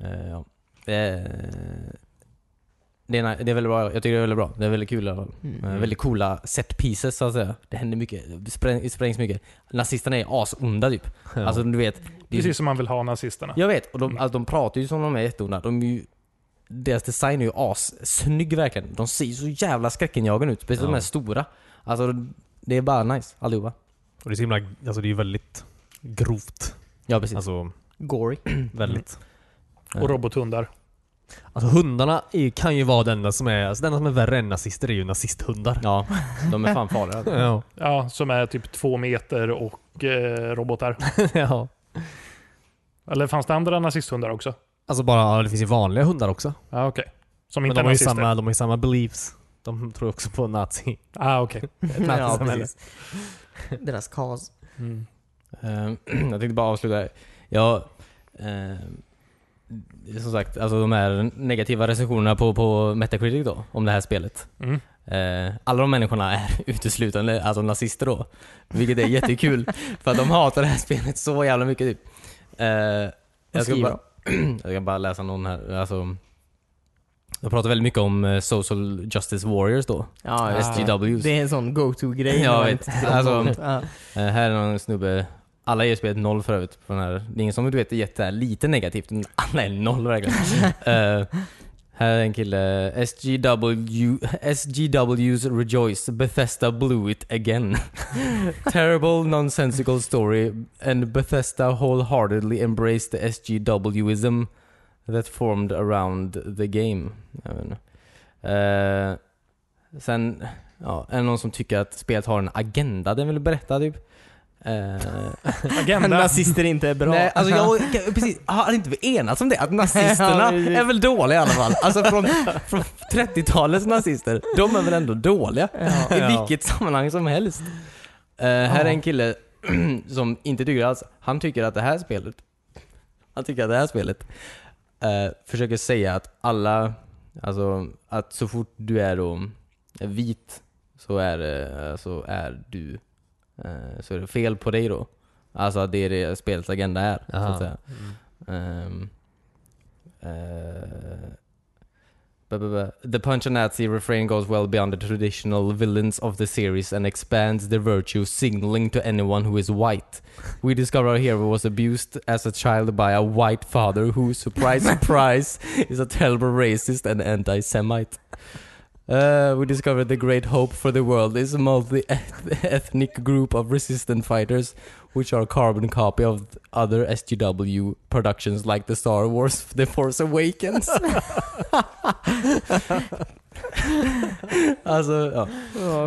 Speaker 2: eh, ja. Eh, det, är, det är väldigt bra. Jag tycker det är väldigt bra. Det är väldigt kul i alla fall.
Speaker 3: Mm.
Speaker 2: Eh, Väldigt coola set pieces så att säga. Det händer mycket. Det spräng, det sprängs mycket. Nazisterna är asonda typ.
Speaker 4: Ja.
Speaker 2: Alltså du vet. det är-
Speaker 1: Precis som man vill ha nazisterna.
Speaker 2: jag vet, och de, alltså, de pratar ju som de är jätteonda. De är ju, deras design är ju assnygg verkligen. De ser ju så jävla skräckinjagande ut. Speciellt de
Speaker 4: Ja.
Speaker 2: här stora. Alltså, det är bara nice allihopa.
Speaker 4: Och det är så himla, alltså det är ju väldigt grovt.
Speaker 2: Ja precis.
Speaker 4: Alltså
Speaker 3: Mm. Gory.
Speaker 4: väldigt.
Speaker 1: Och robothundar.
Speaker 4: Alltså hundarna är, kan ju vara den enda som är, alltså den enda som är värre än nazister är ju nazisthundar.
Speaker 2: Ja, de är fan farliga.
Speaker 4: Ja.
Speaker 1: Ja, som är typ två meter och eh, robotar.
Speaker 4: ja.
Speaker 1: Eller fanns det andra nazisthundar också?
Speaker 4: Alltså bara, ja, det finns ju vanliga hundar också.
Speaker 1: Ja, Ah, okej. Som
Speaker 4: Men
Speaker 1: inte
Speaker 4: de
Speaker 1: är
Speaker 4: har, ju
Speaker 1: nazister?
Speaker 4: samma, de har ju samma beliefs. De tror också på nazi.
Speaker 1: Ah, okej.
Speaker 3: ja,
Speaker 4: nazisamhälle.
Speaker 3: precis. Deras kas.
Speaker 1: Mm.
Speaker 2: Ehm, Eh, jag tänkte bara avsluta. här. Jag, eh, som sagt, alltså de här negativa recensionerna på, på Metacritic då, om det här spelet.
Speaker 1: Mm.
Speaker 2: Eh, alla de människorna är uteslutande alltså nazister då. Vilket är jättekul. för att de hatar det här spelet så jävla mycket typ. Eh, jag, ska
Speaker 3: skriver
Speaker 2: bara, jag ska bara läsa någon här. Alltså, de pratar väldigt mycket om eh, Social Justice Warriors då.
Speaker 3: Ja,
Speaker 1: Ah.
Speaker 3: just
Speaker 2: SJWs.
Speaker 3: Det är en sån go-to-grej.
Speaker 2: Ja,
Speaker 3: när man
Speaker 2: vet.
Speaker 3: inte tycker om
Speaker 2: Alltså,
Speaker 3: sånt. Ja.
Speaker 2: Eh, här är någon snubbe, alla ger spelet noll för övrigt. På den här. Det är ingen som du vet är jätte, lite negativt, men alla är noll verkligen. Eh, här är en kille, SGW, SGW's Rejoice, Bethesda blew it again. Terrible nonsensical story and Bethesda wholeheartedly embraced the SGWism that formed around the game. Jag vet inte. Eh, sen, ja, är det någon som tycker att spelet har en agenda den vill berätta typ? Eh,
Speaker 1: Agenda.
Speaker 3: Nazister inte är bra.
Speaker 2: Nej, alltså jag jag- precis, har inte vi enats om det? Att nazisterna
Speaker 3: Ja, precis.
Speaker 2: är väl dåliga i alla fall? Alltså från, från 30-talets nazister, de är väl ändå dåliga? I vilket sammanhang som helst. Eh, här är en kille som inte tycker alls, han tycker att det här spelet, han tycker att det här spelet eh, försöker säga att alla, alltså att så fort du är då vit så är, det- så är du, eh, så är det fel på dig då. Alltså att det är det spelets agenda är, så
Speaker 4: Aha.
Speaker 2: att säga. Ehm, eh, Ba, ba, ba. The Punch and Nazi refrain goes well beyond the traditional villains of the series and expands their virtue, signaling to anyone who is white. We discover our hero was abused as a child by a white father who, surprise, surprise, is a terrible racist and anti Semite. Uh, we discover the great hope for the world is a multi ethnic group of resistant fighters, which are carbon copy of other SGW productions like the Star Wars The Force Awakens. alltså, ja.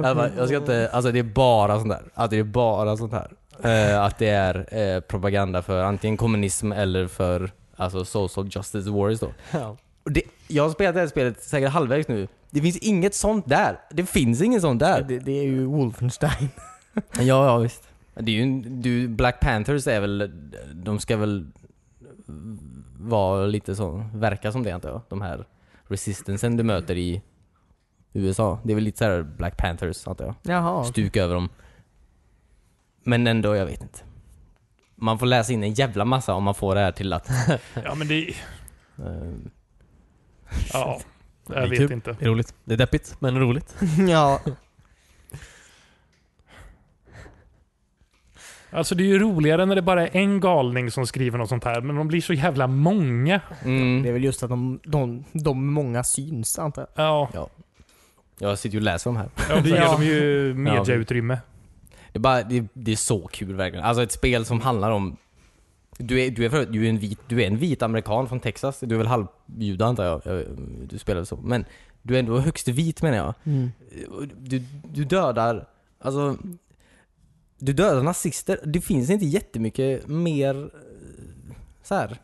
Speaker 2: Jag, bara, jag ska inte, alltså det är bara sånt där. Alltså det är bara sånt här. Eh, att det är eh, propaganda för antingen kommunism eller för alltså social justice wars då.
Speaker 4: Ja.
Speaker 2: Och det, jag har spelat det här spelet säkert halvvägs nu. Det finns inget sånt där. Det finns inget sånt där.
Speaker 3: Det, det är ju Wolfenstein.
Speaker 2: Ja, ja visst. Det är ju, en- du, Black Panthers är väl, de ska väl vara lite så, verka som det antar jag. De här resistansen du möter i USA. Det är väl lite så här Black Panthers antar jag
Speaker 3: Jaha.
Speaker 2: stuk över dem. Men ändå, jag vet inte. Man får läsa in en jävla massa om man får det här till att...
Speaker 1: Ja, men det...
Speaker 2: eh,
Speaker 1: Ja.
Speaker 4: Det
Speaker 1: Jag
Speaker 4: är
Speaker 1: vet
Speaker 4: kul.
Speaker 1: inte.
Speaker 4: Det är roligt. Det är deppigt, men roligt.
Speaker 3: ja.
Speaker 2: Mm.
Speaker 1: Alltså det är ju roligare när det bara är en galning som skriver något sånt här, men de blir så jävla många.
Speaker 3: Det är
Speaker 2: mm,
Speaker 3: väl just att de, de, de många syns antar jag.
Speaker 1: Ja,
Speaker 2: jag sitter ju och läser om här.
Speaker 1: ja det ger
Speaker 3: Ja.
Speaker 1: dem ju mediautrymme.
Speaker 2: Det är, bara, det, det är så kul verkligen. Alltså ett spel som handlar om... Du är, du är, för, du är, en, vit, du är en vit amerikan från Texas. Du är väl halvjude antar jag. jag. Du spelar så. Men du är ändå högst vit menar jag.
Speaker 3: Mm.
Speaker 2: Och du, du dödar, alltså du dödar nazister. Det finns inte jättemycket mer eh, så här.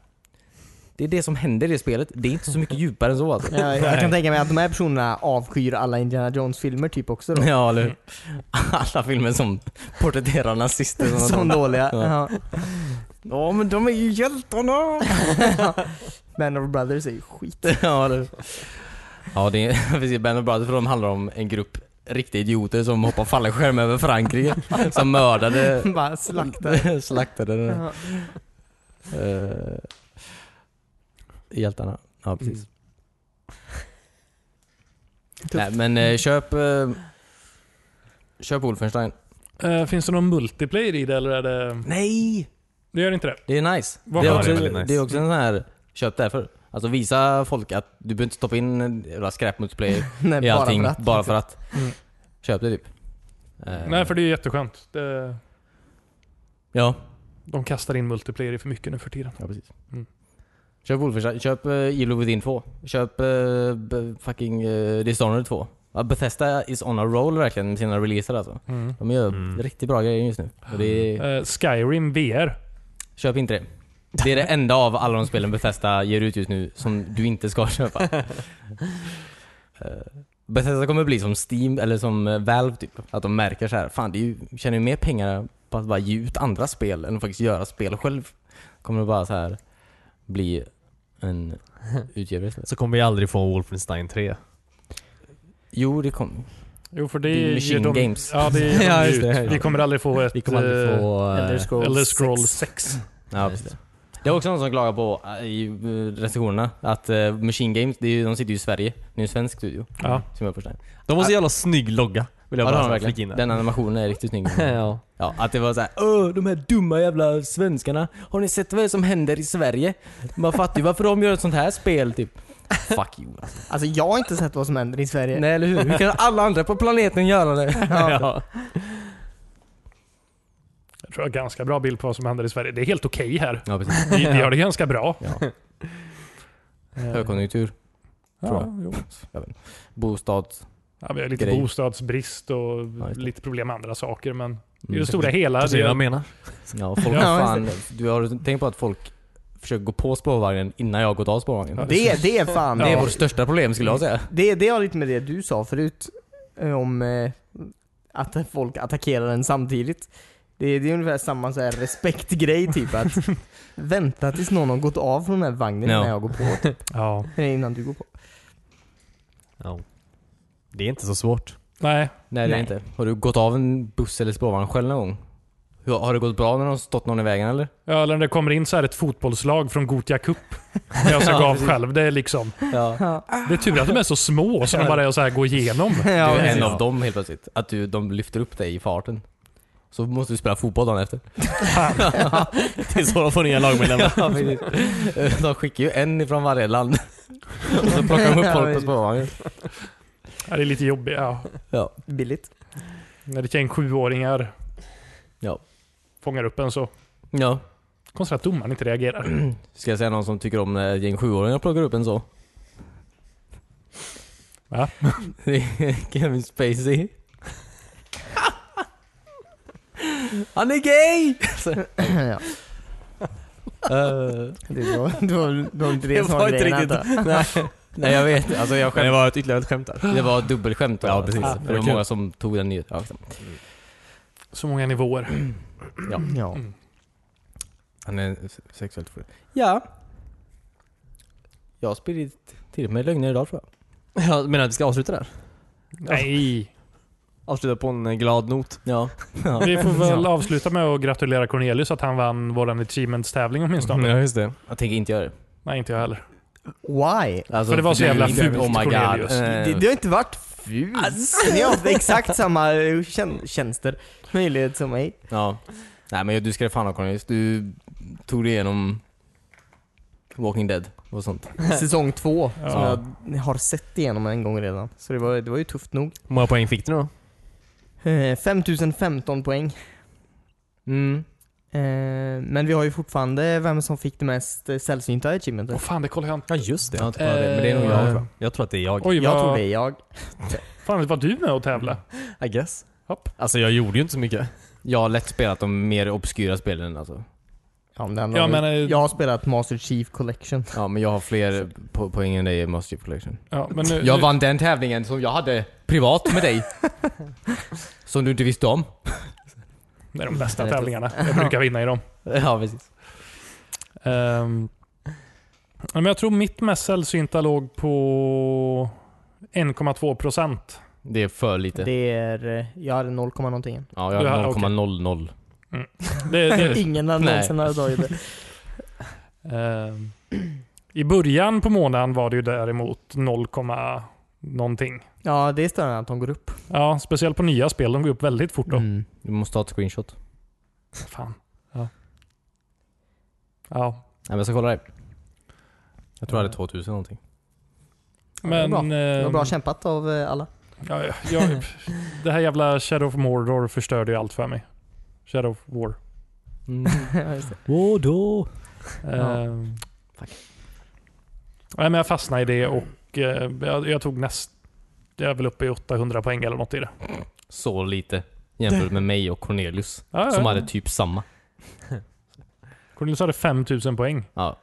Speaker 2: Det är det som händer i det spelet. Det är inte så mycket djupare än så alltså.
Speaker 3: Jag, jag kan tänka mig att de här personerna avskyr alla Indiana Jones-filmer typ också då.
Speaker 2: Ja, eller hur? Alla filmer som porträtterar nazister. som att
Speaker 3: Som
Speaker 2: de-
Speaker 3: dåliga.
Speaker 2: Ja.
Speaker 3: Ja.
Speaker 2: Ja, men de är ju hjältarna!
Speaker 3: Man of Brothers är ju skit.
Speaker 2: ja, det, ja, det är precis. Band of Brothers, för de handlar om en grupp riktiga idioter som hoppar fallskärm över Frankrike. som mördade...
Speaker 3: Bara slaktar.
Speaker 2: slaktade den.
Speaker 3: Ja.
Speaker 2: Uh, hjältarna. Ja, precis. Nej, men eh, köp... eh, köp Wolfenstein.
Speaker 1: Eh, finns det någon multiplayer i det eller är det...
Speaker 2: Nej!
Speaker 1: Det gör inte det.
Speaker 2: Det är nice. Det
Speaker 1: Vad
Speaker 2: är,
Speaker 1: skönt.
Speaker 2: också,
Speaker 4: Ja,
Speaker 2: det,
Speaker 4: det är
Speaker 2: är
Speaker 4: väldigt
Speaker 2: också en sån här... Köp därför. Alltså visa folk att du behöver inte stoppa in en jävla skräpmultiplayer
Speaker 3: Nej,
Speaker 2: i
Speaker 3: bara
Speaker 2: allting
Speaker 3: för att.
Speaker 2: bara för att.
Speaker 1: Mm.
Speaker 2: Köp det typ. Eh,
Speaker 1: Nej, för det är jätteskönt. Det,
Speaker 2: Ja,
Speaker 1: de kastar in multiplayer i för mycket nu för tiden.
Speaker 2: ja precis.
Speaker 1: Mm.
Speaker 2: Köp Wolfenstein. Köp uh, Evil Within 2. Köp eh, b- fucking uh, Dishonored 2. Ja, Bethesda is on a roll verkligen med sina releaser alltså.
Speaker 1: Mm.
Speaker 2: De gör
Speaker 4: Mm.
Speaker 2: riktigt bra grejer just nu. Och det är,
Speaker 1: Eh, Skyrim VR.
Speaker 2: köp inte det. Det är det enda av alla de spelen Bethesda ger ut just nu som du inte ska köpa. Eh, Bethesda kommer bli som Steam eller som eh, Valve typ. Att de märker så här, fan det är ju, tjänar ju mer pengar på att bara ge ut andra spel än att faktiskt göra spel själv. Kommer det bara så här bli en utgivare istället.
Speaker 4: Så kommer vi aldrig få Wolfenstein 3.
Speaker 2: Jo, det kom
Speaker 1: Jo, för
Speaker 2: Det är
Speaker 1: det
Speaker 2: Machine
Speaker 1: ger de,
Speaker 2: Games.
Speaker 1: Ja, det ger de
Speaker 4: Ja, just
Speaker 1: ut.
Speaker 4: det, ja.
Speaker 1: Vi kommer aldrig få ett
Speaker 2: Vi kommer aldrig
Speaker 1: eh,
Speaker 2: få... eh,
Speaker 3: Elder Scrolls
Speaker 1: Elder
Speaker 3: 6.
Speaker 1: Scrolls 6.
Speaker 2: Ja,
Speaker 4: Just
Speaker 2: precis. Det är också någon som klagar på eh, i eh, recensionerna att eh, Machine Games, det är, ju- de sitter ju i Sverige. Det är en svensk studio.
Speaker 1: Ja.
Speaker 2: Som jag förstår det.
Speaker 4: De har så jävla snygg logga. Vill jag
Speaker 2: Ja, det har de
Speaker 4: bara flika in
Speaker 2: verkligen.
Speaker 4: där.
Speaker 2: Den animationen är riktigt snygg.
Speaker 4: ja.
Speaker 2: Ja, att det var såhär Åh, de här dumma jävla svenskarna. Har ni sett vad som händer i Sverige? Man fattar ju varför de gör ett sånt här spel typ. Fuck you. alltså.
Speaker 3: Alltså jag har inte sett vad som händer i Sverige.
Speaker 2: Nej eller hur? Hur kan alla andra på planeten göra det?
Speaker 4: ja.
Speaker 1: Jag tror jag har ganska bra bild på vad som händer i Sverige. Det är helt okej här.
Speaker 2: Ja, precis.
Speaker 1: Vi, vi har det ganska bra.
Speaker 2: Ja.
Speaker 1: Eh,
Speaker 2: Högkonjunktur. tror
Speaker 1: ja, jo.
Speaker 2: Bostads...
Speaker 1: Ja, vi har lite
Speaker 2: Grej.
Speaker 1: bostadsbrist och
Speaker 2: just det.
Speaker 1: lite problem med andra saker, men i
Speaker 2: Mm.
Speaker 1: det stora hela...
Speaker 4: Förstår
Speaker 1: Det
Speaker 4: du vad jag
Speaker 1: är,
Speaker 4: menar?
Speaker 2: Ja, folk
Speaker 1: Ja,
Speaker 2: fan. Du har tänkt på att folk försöker gå på spårvagnen innan jag har gått av spårvagnen.
Speaker 1: Ja,
Speaker 3: Det, det är fan...
Speaker 1: Ja.
Speaker 2: Det är vårt största problem skulle jag säga.
Speaker 3: Det, det har lite med det du sa förut eh, om eh, att folk attackerar en samtidigt. Det, det är ungefär samma så här respektgrej typ att vänta tills någon har gått av från den här vagnen
Speaker 2: Ja.
Speaker 3: innan jag går på. typ.
Speaker 1: ja.
Speaker 3: Eller innan du går på.
Speaker 4: Ja. Det är inte så svårt.
Speaker 1: Nej,
Speaker 2: Nej, det är
Speaker 3: Nej.
Speaker 2: inte. Har du gått av en buss eller spårvagn själv någon gång? Hur- Har det gått bra när det har stått någon i vägen eller?
Speaker 1: ja, eller när det kommer in så här ett fotbollslag från Gothia Cup. När jag ska gå av själv. Det är liksom...
Speaker 2: Ja.
Speaker 1: Det är tur att de är så små så de bara är så här går igenom.
Speaker 3: Ja,
Speaker 2: Du är en
Speaker 3: precis.
Speaker 2: av dem helt plötsligt. Att du, de lyfter upp dig i farten. Så måste du spela fotboll dagen efter.
Speaker 4: Det är så de får nya lagmedlemmar.
Speaker 2: Ja, precis. de skickar ju en ifrån varje land. Och så plockar de upp
Speaker 3: Ja,
Speaker 2: folk på
Speaker 3: precis.
Speaker 2: spårvagnen.
Speaker 1: Ja, det är lite jobbigt. Ja.
Speaker 2: Ja.
Speaker 3: Billigt.
Speaker 1: När det är en sjuåringar
Speaker 2: Ja.
Speaker 1: fångar upp en så.
Speaker 2: ja.
Speaker 1: Konstigt att domaren inte reagerar.
Speaker 2: Ska jag säga någon som tycker om när ett gäng sjuåringar plockar upp en så?
Speaker 1: Va?
Speaker 2: Det är Kevin Spacey. Han är gay!
Speaker 3: ja,
Speaker 2: Eh,
Speaker 3: det var, det var, det var inte det,
Speaker 4: Det
Speaker 3: som
Speaker 4: var
Speaker 3: var
Speaker 4: inte
Speaker 3: grejen
Speaker 4: riktigt-
Speaker 3: antar jag.
Speaker 2: Nej jag vet, alltså jag
Speaker 4: Men det
Speaker 2: skämt,
Speaker 4: var ett ytterligare ett skämt där.
Speaker 2: det var ett dubbelskämt då.
Speaker 4: Ja, precis.
Speaker 2: För
Speaker 1: Det
Speaker 2: det
Speaker 1: var
Speaker 2: var
Speaker 1: kul.
Speaker 2: många som tog den nyheten. Ja, liksom.
Speaker 1: Så många nivåer.
Speaker 3: Ja.
Speaker 2: Han är sexuellt full. Ja. Jag har spridit till mig lögner idag tror jag.
Speaker 4: Jag menar att vi ska avsluta där?
Speaker 1: Nej.
Speaker 4: Avsluta på
Speaker 2: eh,
Speaker 4: en glad not.
Speaker 2: Ja. ja.
Speaker 1: Vi får väl avsluta med att gratulera Cornelius att han vann vår achievements-tävling åtminstone.
Speaker 4: Mm,
Speaker 2: Mm,
Speaker 4: Ja, just det.
Speaker 2: Jag tänker inte göra det.
Speaker 1: Nej, inte jag heller.
Speaker 3: Why?
Speaker 2: Alltså,
Speaker 1: För det var så
Speaker 2: du-
Speaker 1: jävla
Speaker 2: du-
Speaker 1: fult,
Speaker 2: Oh my god.
Speaker 1: Cornelius.
Speaker 2: Eh,
Speaker 3: Det, det har inte varit fult.
Speaker 1: Alltså.
Speaker 3: Ni har haft exakt samma eh, tjän- tjänster, möjlighet som mig.
Speaker 2: Ja. Nej men du ska fan ha Cornelius. Du tog dig igenom Walking Dead och sånt.
Speaker 3: Säsong två, som
Speaker 1: Ja.
Speaker 3: jag har sett igenom en gång redan. Så det var, det var ju tufft nog.
Speaker 4: Hur många poäng fick du då?
Speaker 3: Eh, 5015 poäng.
Speaker 2: Mm.
Speaker 3: Eh, Men vi har ju fortfarande vem som fick det mest eh, sällsynta
Speaker 1: Åh
Speaker 3: achievementet.
Speaker 1: fan, det kollar jag inte.
Speaker 4: Ja, just
Speaker 2: Jag har inte kollat det, men det är nog
Speaker 1: Eh,
Speaker 2: jag tror jag.
Speaker 4: Jag tror att det är jag.
Speaker 1: Oj,
Speaker 3: Jag tror
Speaker 1: vad...
Speaker 3: det är jag.
Speaker 1: Fan, var du med och tävla?
Speaker 4: I guess.
Speaker 1: Hopp.
Speaker 4: Alltså jag gjorde ju inte så mycket.
Speaker 2: Jag har lätt spelat de mer obskyra spelen alltså.
Speaker 3: Ja, men den
Speaker 1: Ja,
Speaker 3: har vi-
Speaker 1: men, eh,
Speaker 3: jag har spelat Master Chief Collection.
Speaker 2: Ja men jag har fler po poäng än dig i Master Chief Collection.
Speaker 1: Ja, men nu,
Speaker 2: Jag
Speaker 1: Eh, nu-
Speaker 2: vann den tävlingen som jag hade privat med dig. som du inte visste om.
Speaker 1: Det är de bästa tävlingarna. Jag brukar vinna i dem.
Speaker 2: Ja precis.
Speaker 1: Ehm, men jag tror mitt mest sällsynta låg på 1,2 procent.
Speaker 2: Det är för lite.
Speaker 3: Det är... eh, Jag hade 0, någonting.
Speaker 2: Ja,
Speaker 1: Du
Speaker 2: jag
Speaker 1: har-
Speaker 2: har 0,00.
Speaker 1: Det, det,
Speaker 3: Ingen hade
Speaker 2: Nej.
Speaker 3: någonsin hade tagit det.
Speaker 1: Ehm, I början på månaden var det ju däremot 0, komma någonting.
Speaker 3: Ja, det är störande att de går upp.
Speaker 1: Ja, speciellt på nya spel. De går upp väldigt fort då.
Speaker 2: Mm. Du måste ta ett screenshot.
Speaker 1: Fan. Ja. ja.
Speaker 2: Nej men jag ska kolla det. Jag tror jag hade
Speaker 1: Ja.
Speaker 2: 2000 någonting.
Speaker 1: Men...
Speaker 3: det var Det var
Speaker 1: ehm,
Speaker 3: bra kämpat av eh, alla.
Speaker 1: Ja, ja, jag, det här jävla Shadow of Mordor förstörde ju allt för mig. Shadow of War.
Speaker 3: Ja, just det.
Speaker 2: Vadå?
Speaker 1: Ja.
Speaker 2: Fuck.
Speaker 1: Ehm, Nej, men jag fastnade i det och eh, jag, jag tog näst... Jag är väl uppe i 800 poäng eller något i det.
Speaker 2: Så lite. Jämfört med mig och Cornelius.
Speaker 1: Ja, ja,
Speaker 2: Som
Speaker 1: ja.
Speaker 2: hade typ samma.
Speaker 1: Cornelius hade 5000 poäng.
Speaker 2: Ja.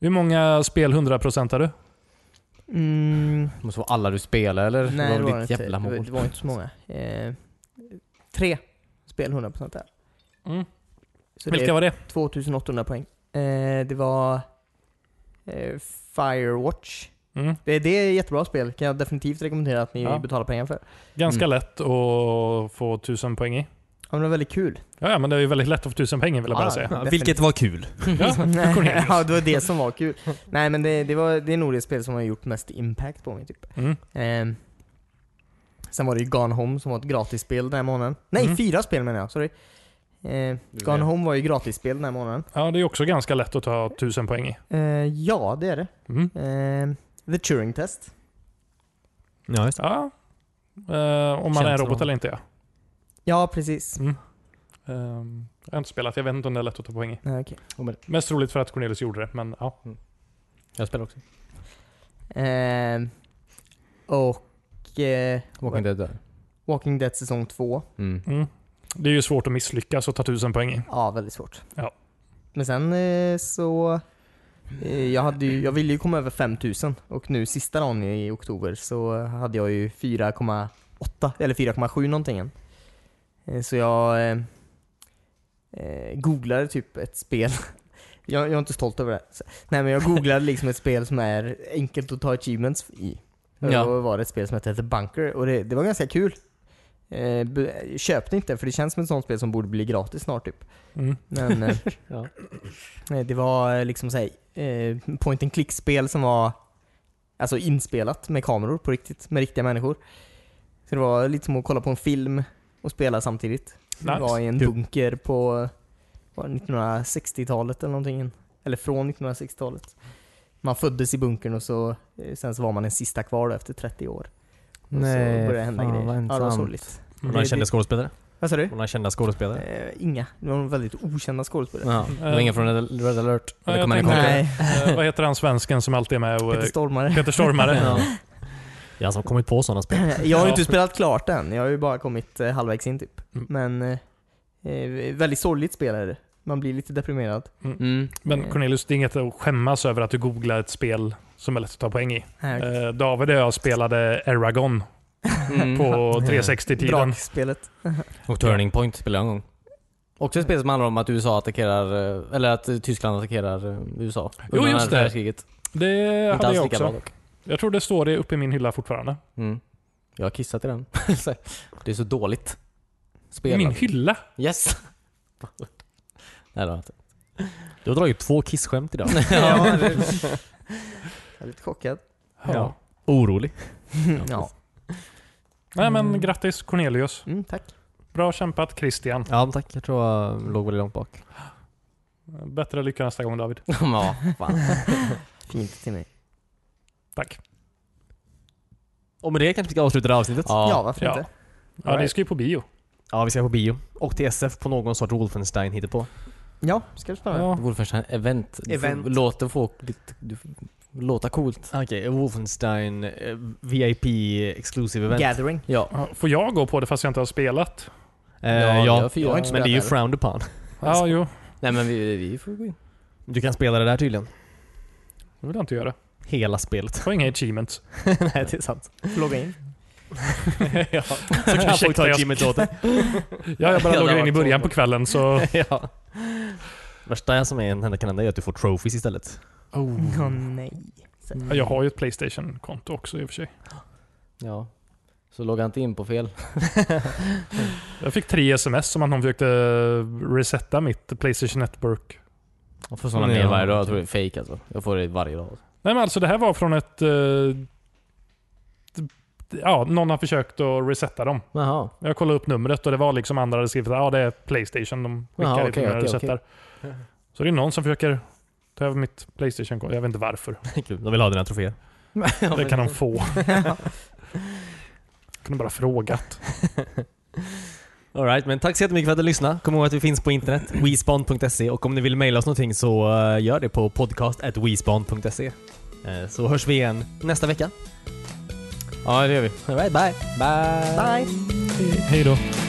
Speaker 1: Hur många spel 100% har du?
Speaker 3: Mm,
Speaker 2: Det måste vara alla du spelar eller?
Speaker 3: nej, det var,
Speaker 2: ditt
Speaker 3: det inte.
Speaker 2: jävla
Speaker 3: Det var-
Speaker 2: mål.
Speaker 3: det var inte så många. Eh, tre spel 100% där. Så det
Speaker 1: Vilka
Speaker 3: är
Speaker 1: var det?
Speaker 3: 2800 poäng. Eh, det var eh, Firewatch.
Speaker 1: Mm.
Speaker 3: Det, det är ett jättebra spel, kan jag definitivt rekommendera att ni
Speaker 1: Ja.
Speaker 3: betalar pengar för.
Speaker 1: Ganska
Speaker 2: Mm.
Speaker 1: lätt att få tusen poäng i.
Speaker 3: Ja, men det är väldigt kul.
Speaker 1: Ja, ja, men det är ju väldigt lätt att få tusen pengar vill jag bara
Speaker 3: Ja,
Speaker 1: säga.
Speaker 4: Ja,
Speaker 3: definitivt.
Speaker 4: vilket var kul.
Speaker 1: Ja, för Cornelius.
Speaker 3: ja, det var det som var kul. Nej men det, det, var, det är nog det spel som har gjort mest impact på mig typ.
Speaker 1: Mm.
Speaker 3: Ehm. sen var det ju Gone Home som var ett gratisspel den här månaden. Nej,
Speaker 1: Mm.
Speaker 3: fyra spel menar jag. Sorry. Ehm,
Speaker 2: Du
Speaker 3: Gone
Speaker 2: menar-
Speaker 3: Home var ju gratisspel den här månaden.
Speaker 1: Ja, det är också ganska lätt att ta tusen poäng i.
Speaker 3: Ehm, ja, det är det.
Speaker 1: Mm.
Speaker 3: Ehm, The Turing Test.
Speaker 4: Ja, just
Speaker 1: Ja. Eh, om man är en
Speaker 4: Känns
Speaker 1: robot
Speaker 4: som-
Speaker 1: eller inte ja.
Speaker 3: Ja, precis.
Speaker 1: Ehm, jag har inte spelat, jag vet inte om det är lätt att ta poäng i.
Speaker 3: Ja, okej.
Speaker 1: Mest roligt för att Cornelius gjorde det, men ja.
Speaker 2: Jag spelar också.
Speaker 3: Ehm, och eh,
Speaker 2: Walking Dead där.
Speaker 3: Walking Dead säsong 2.
Speaker 2: Mm.
Speaker 1: Mm. Det är ju svårt att misslyckas och ta tusen poäng i.
Speaker 3: Ja, väldigt svårt.
Speaker 1: Ja.
Speaker 3: Men sen eh, så... eh, Jag, hade ju, jag ville ju komma över 5000 och nu sista dagen i oktober så hade jag ju 4,8 eller 4,7 någonting. än. Eh, Så jag eh, eh, googlade typ ett spel. Jag, jag är inte stolt över det. här. Så- Nej men jag googlade liksom ett spel som är enkelt att ta achievements i. Och
Speaker 2: Ja.
Speaker 3: Då var det ett spel som hette The Bunker och det, det var ganska kul. Eh, be- köpte inte för det känns som ett sånt spel som borde bli gratis snart typ.
Speaker 1: Mm.
Speaker 3: Men eh,
Speaker 4: Ja.
Speaker 3: eh, det var eh, liksom såhär, eh, point and click-spel som var alltså inspelat med kameror på riktigt, med riktiga människor. Så det var lite som att kolla på en film och spela samtidigt. Vi
Speaker 1: Nice.
Speaker 3: var i en
Speaker 4: Kul.
Speaker 3: bunker på var det 1960-talet eller någonting. Eller från 1960-talet. Man föddes i bunkern och så, eh, sen så var man den sista kvar då efter 30 år. Och så
Speaker 2: Nej,
Speaker 3: började det hända
Speaker 2: fan,
Speaker 3: grejer.
Speaker 2: vad
Speaker 3: Ja, det var
Speaker 2: ensamt.
Speaker 3: sorgligt.
Speaker 4: det.
Speaker 1: Det-
Speaker 4: Några kända skådespelare.
Speaker 3: Vad sa du?
Speaker 4: Några kända
Speaker 2: Mm.
Speaker 4: skådespelare.
Speaker 3: Eh, inga. Det var väldigt okända skådespelare.
Speaker 2: Ja, det var ingen från Red Red Alert.
Speaker 1: Ja,
Speaker 2: Eller
Speaker 1: jag
Speaker 2: Command and
Speaker 1: tänkte-
Speaker 2: Conquer.
Speaker 3: Nej,
Speaker 1: Eh, vad heter han svensken som alltid är med? Och, eh,
Speaker 3: Peter Stormare.
Speaker 1: Peter Stormare.
Speaker 2: Ja.
Speaker 4: Jag som kommit på sådana spel.
Speaker 3: Jag har ju inte
Speaker 1: Ja.
Speaker 3: spelat klart än, jag har ju bara kommit eh, halvvägs in typ.
Speaker 1: Mm.
Speaker 3: Men eh, eh, väldigt sorgligt spel är det. Man blir lite deprimerad.
Speaker 2: Mm.
Speaker 1: Men Cornelius, det är inget att skämmas över att du googlar ett spel som är lätt att ta poäng i.
Speaker 3: Här,
Speaker 1: Eh, David och jag spelade Eragon
Speaker 2: Mm.
Speaker 1: på 360-tiden.
Speaker 3: Drakspelet.
Speaker 2: Och Turning Point spelade jag en gång. Också ett
Speaker 3: Mm.
Speaker 2: spel som handlar om att USA attackerar, eh, eller att eh, Tyskland attackerar eh, USA.
Speaker 1: Jo,
Speaker 2: Under
Speaker 1: just
Speaker 2: andra
Speaker 1: det.
Speaker 2: världskriget.
Speaker 1: Det
Speaker 2: Inte
Speaker 1: hade
Speaker 2: alls
Speaker 1: jag
Speaker 2: lika bra
Speaker 1: också.
Speaker 2: dock.
Speaker 1: Jag tror det står det uppe i min hylla fortfarande.
Speaker 2: Mm. Jag har kissat i den. Så, det är så dåligt.
Speaker 1: I
Speaker 2: Spel.
Speaker 1: min
Speaker 2: alltså.
Speaker 1: hylla?
Speaker 2: Yes! Nej, det har jag inte.
Speaker 4: Du har dragit två kissskämt idag.
Speaker 3: ja, det- jag är lite chockad.
Speaker 1: Ja.
Speaker 4: Orolig.
Speaker 3: Ja.
Speaker 1: Nej men grattis Cornelius.
Speaker 3: Mm, tack.
Speaker 1: Bra kämpat Christian.
Speaker 4: Ja, tack. Jag tror jag låg väldigt långt bak.
Speaker 1: Bättre lycka nästa gång David.
Speaker 2: ja, fan.
Speaker 3: Fint till mig.
Speaker 1: Tack.
Speaker 4: Och med det kanske vi ska avsluta det här avsnittet.
Speaker 3: Ja,
Speaker 2: Ja.
Speaker 3: varför
Speaker 1: Ja.
Speaker 3: inte?
Speaker 1: Ja, ni ska ju på bio.
Speaker 4: Ja, vi ska på bio. Och till SF på någon sorts Wolfenstein hittar på.
Speaker 3: Ja, ska du spela?
Speaker 1: Ja.
Speaker 2: Det vore först en event. Du får-
Speaker 4: Event.
Speaker 2: Låter folk lite, du, får låta coolt.
Speaker 4: Okej, Wolfenstein eh, VIP exclusive event.
Speaker 3: Gathering.
Speaker 2: Ja.
Speaker 1: Får jag gå på det fast jag inte har spelat?
Speaker 4: Eh,
Speaker 2: Ja, vi har
Speaker 4: ja,
Speaker 2: fyra.
Speaker 3: Jag har inte
Speaker 4: men det är ju
Speaker 3: spelat
Speaker 4: frowned upon.
Speaker 1: Ja, jo.
Speaker 2: Nej men vi, vi får gå in.
Speaker 4: Du kan spela det där tydligen.
Speaker 1: Det vill jag inte göra.
Speaker 4: Hela spelet.
Speaker 1: Får inga achievements.
Speaker 4: Nej, det är sant.
Speaker 3: Får logga in.
Speaker 4: ja. Så kan
Speaker 1: Ursäkta,
Speaker 4: folk ta
Speaker 1: jag-
Speaker 4: gymmet åt dig.
Speaker 1: Ja, jag bara
Speaker 2: Ja, det
Speaker 1: loggar in i
Speaker 2: var
Speaker 1: början på
Speaker 2: så.
Speaker 1: kvällen så...
Speaker 4: ja. Värsta som är, hända kan hända är att du får trophies istället.
Speaker 1: Oh.
Speaker 3: Ja, nej. Så-
Speaker 1: Ja, Jag har ju ett Playstation-konto också i och för sig.
Speaker 2: Ja. Så logga inte in på fel.
Speaker 1: Jag fick tre sms om att någon försökte resetta mitt Playstation Network.
Speaker 2: Jag får sådana
Speaker 4: Mm, Ja.
Speaker 2: mail varje dag. Jag tror det är fake alltså. Jag får det varje dag.
Speaker 1: Nej men alltså det här var från ett... eh, d- ja, någon har försökt att resetta dem.
Speaker 2: Jaha.
Speaker 1: Jag kollade upp numret och det var liksom andra hade skrivit att ja, det är Playstation de skickar
Speaker 2: Jaha,
Speaker 1: Aha, okay,
Speaker 2: okej,
Speaker 1: okay,
Speaker 2: okej,
Speaker 1: resettar. Så det är någon som försöker ta över mitt Playstation-konto. Jag vet inte varför.
Speaker 4: Kul. De vill ha dina troféer.
Speaker 1: Det kan de få. Jag kunde bara frågat.
Speaker 4: Alright, men tack så jättemycket för att du lyssnade. Kom ihåg att vi finns på internet, wespond.se och om ni vill mejla oss någonting så eh, gör det på podcast.wespond.se. Eh, Så hörs vi igen nästa vecka.
Speaker 2: Ja det gör vi.
Speaker 4: Alright, bye!
Speaker 2: Bye!
Speaker 3: Bye!
Speaker 1: Hej då.
Speaker 4: Hej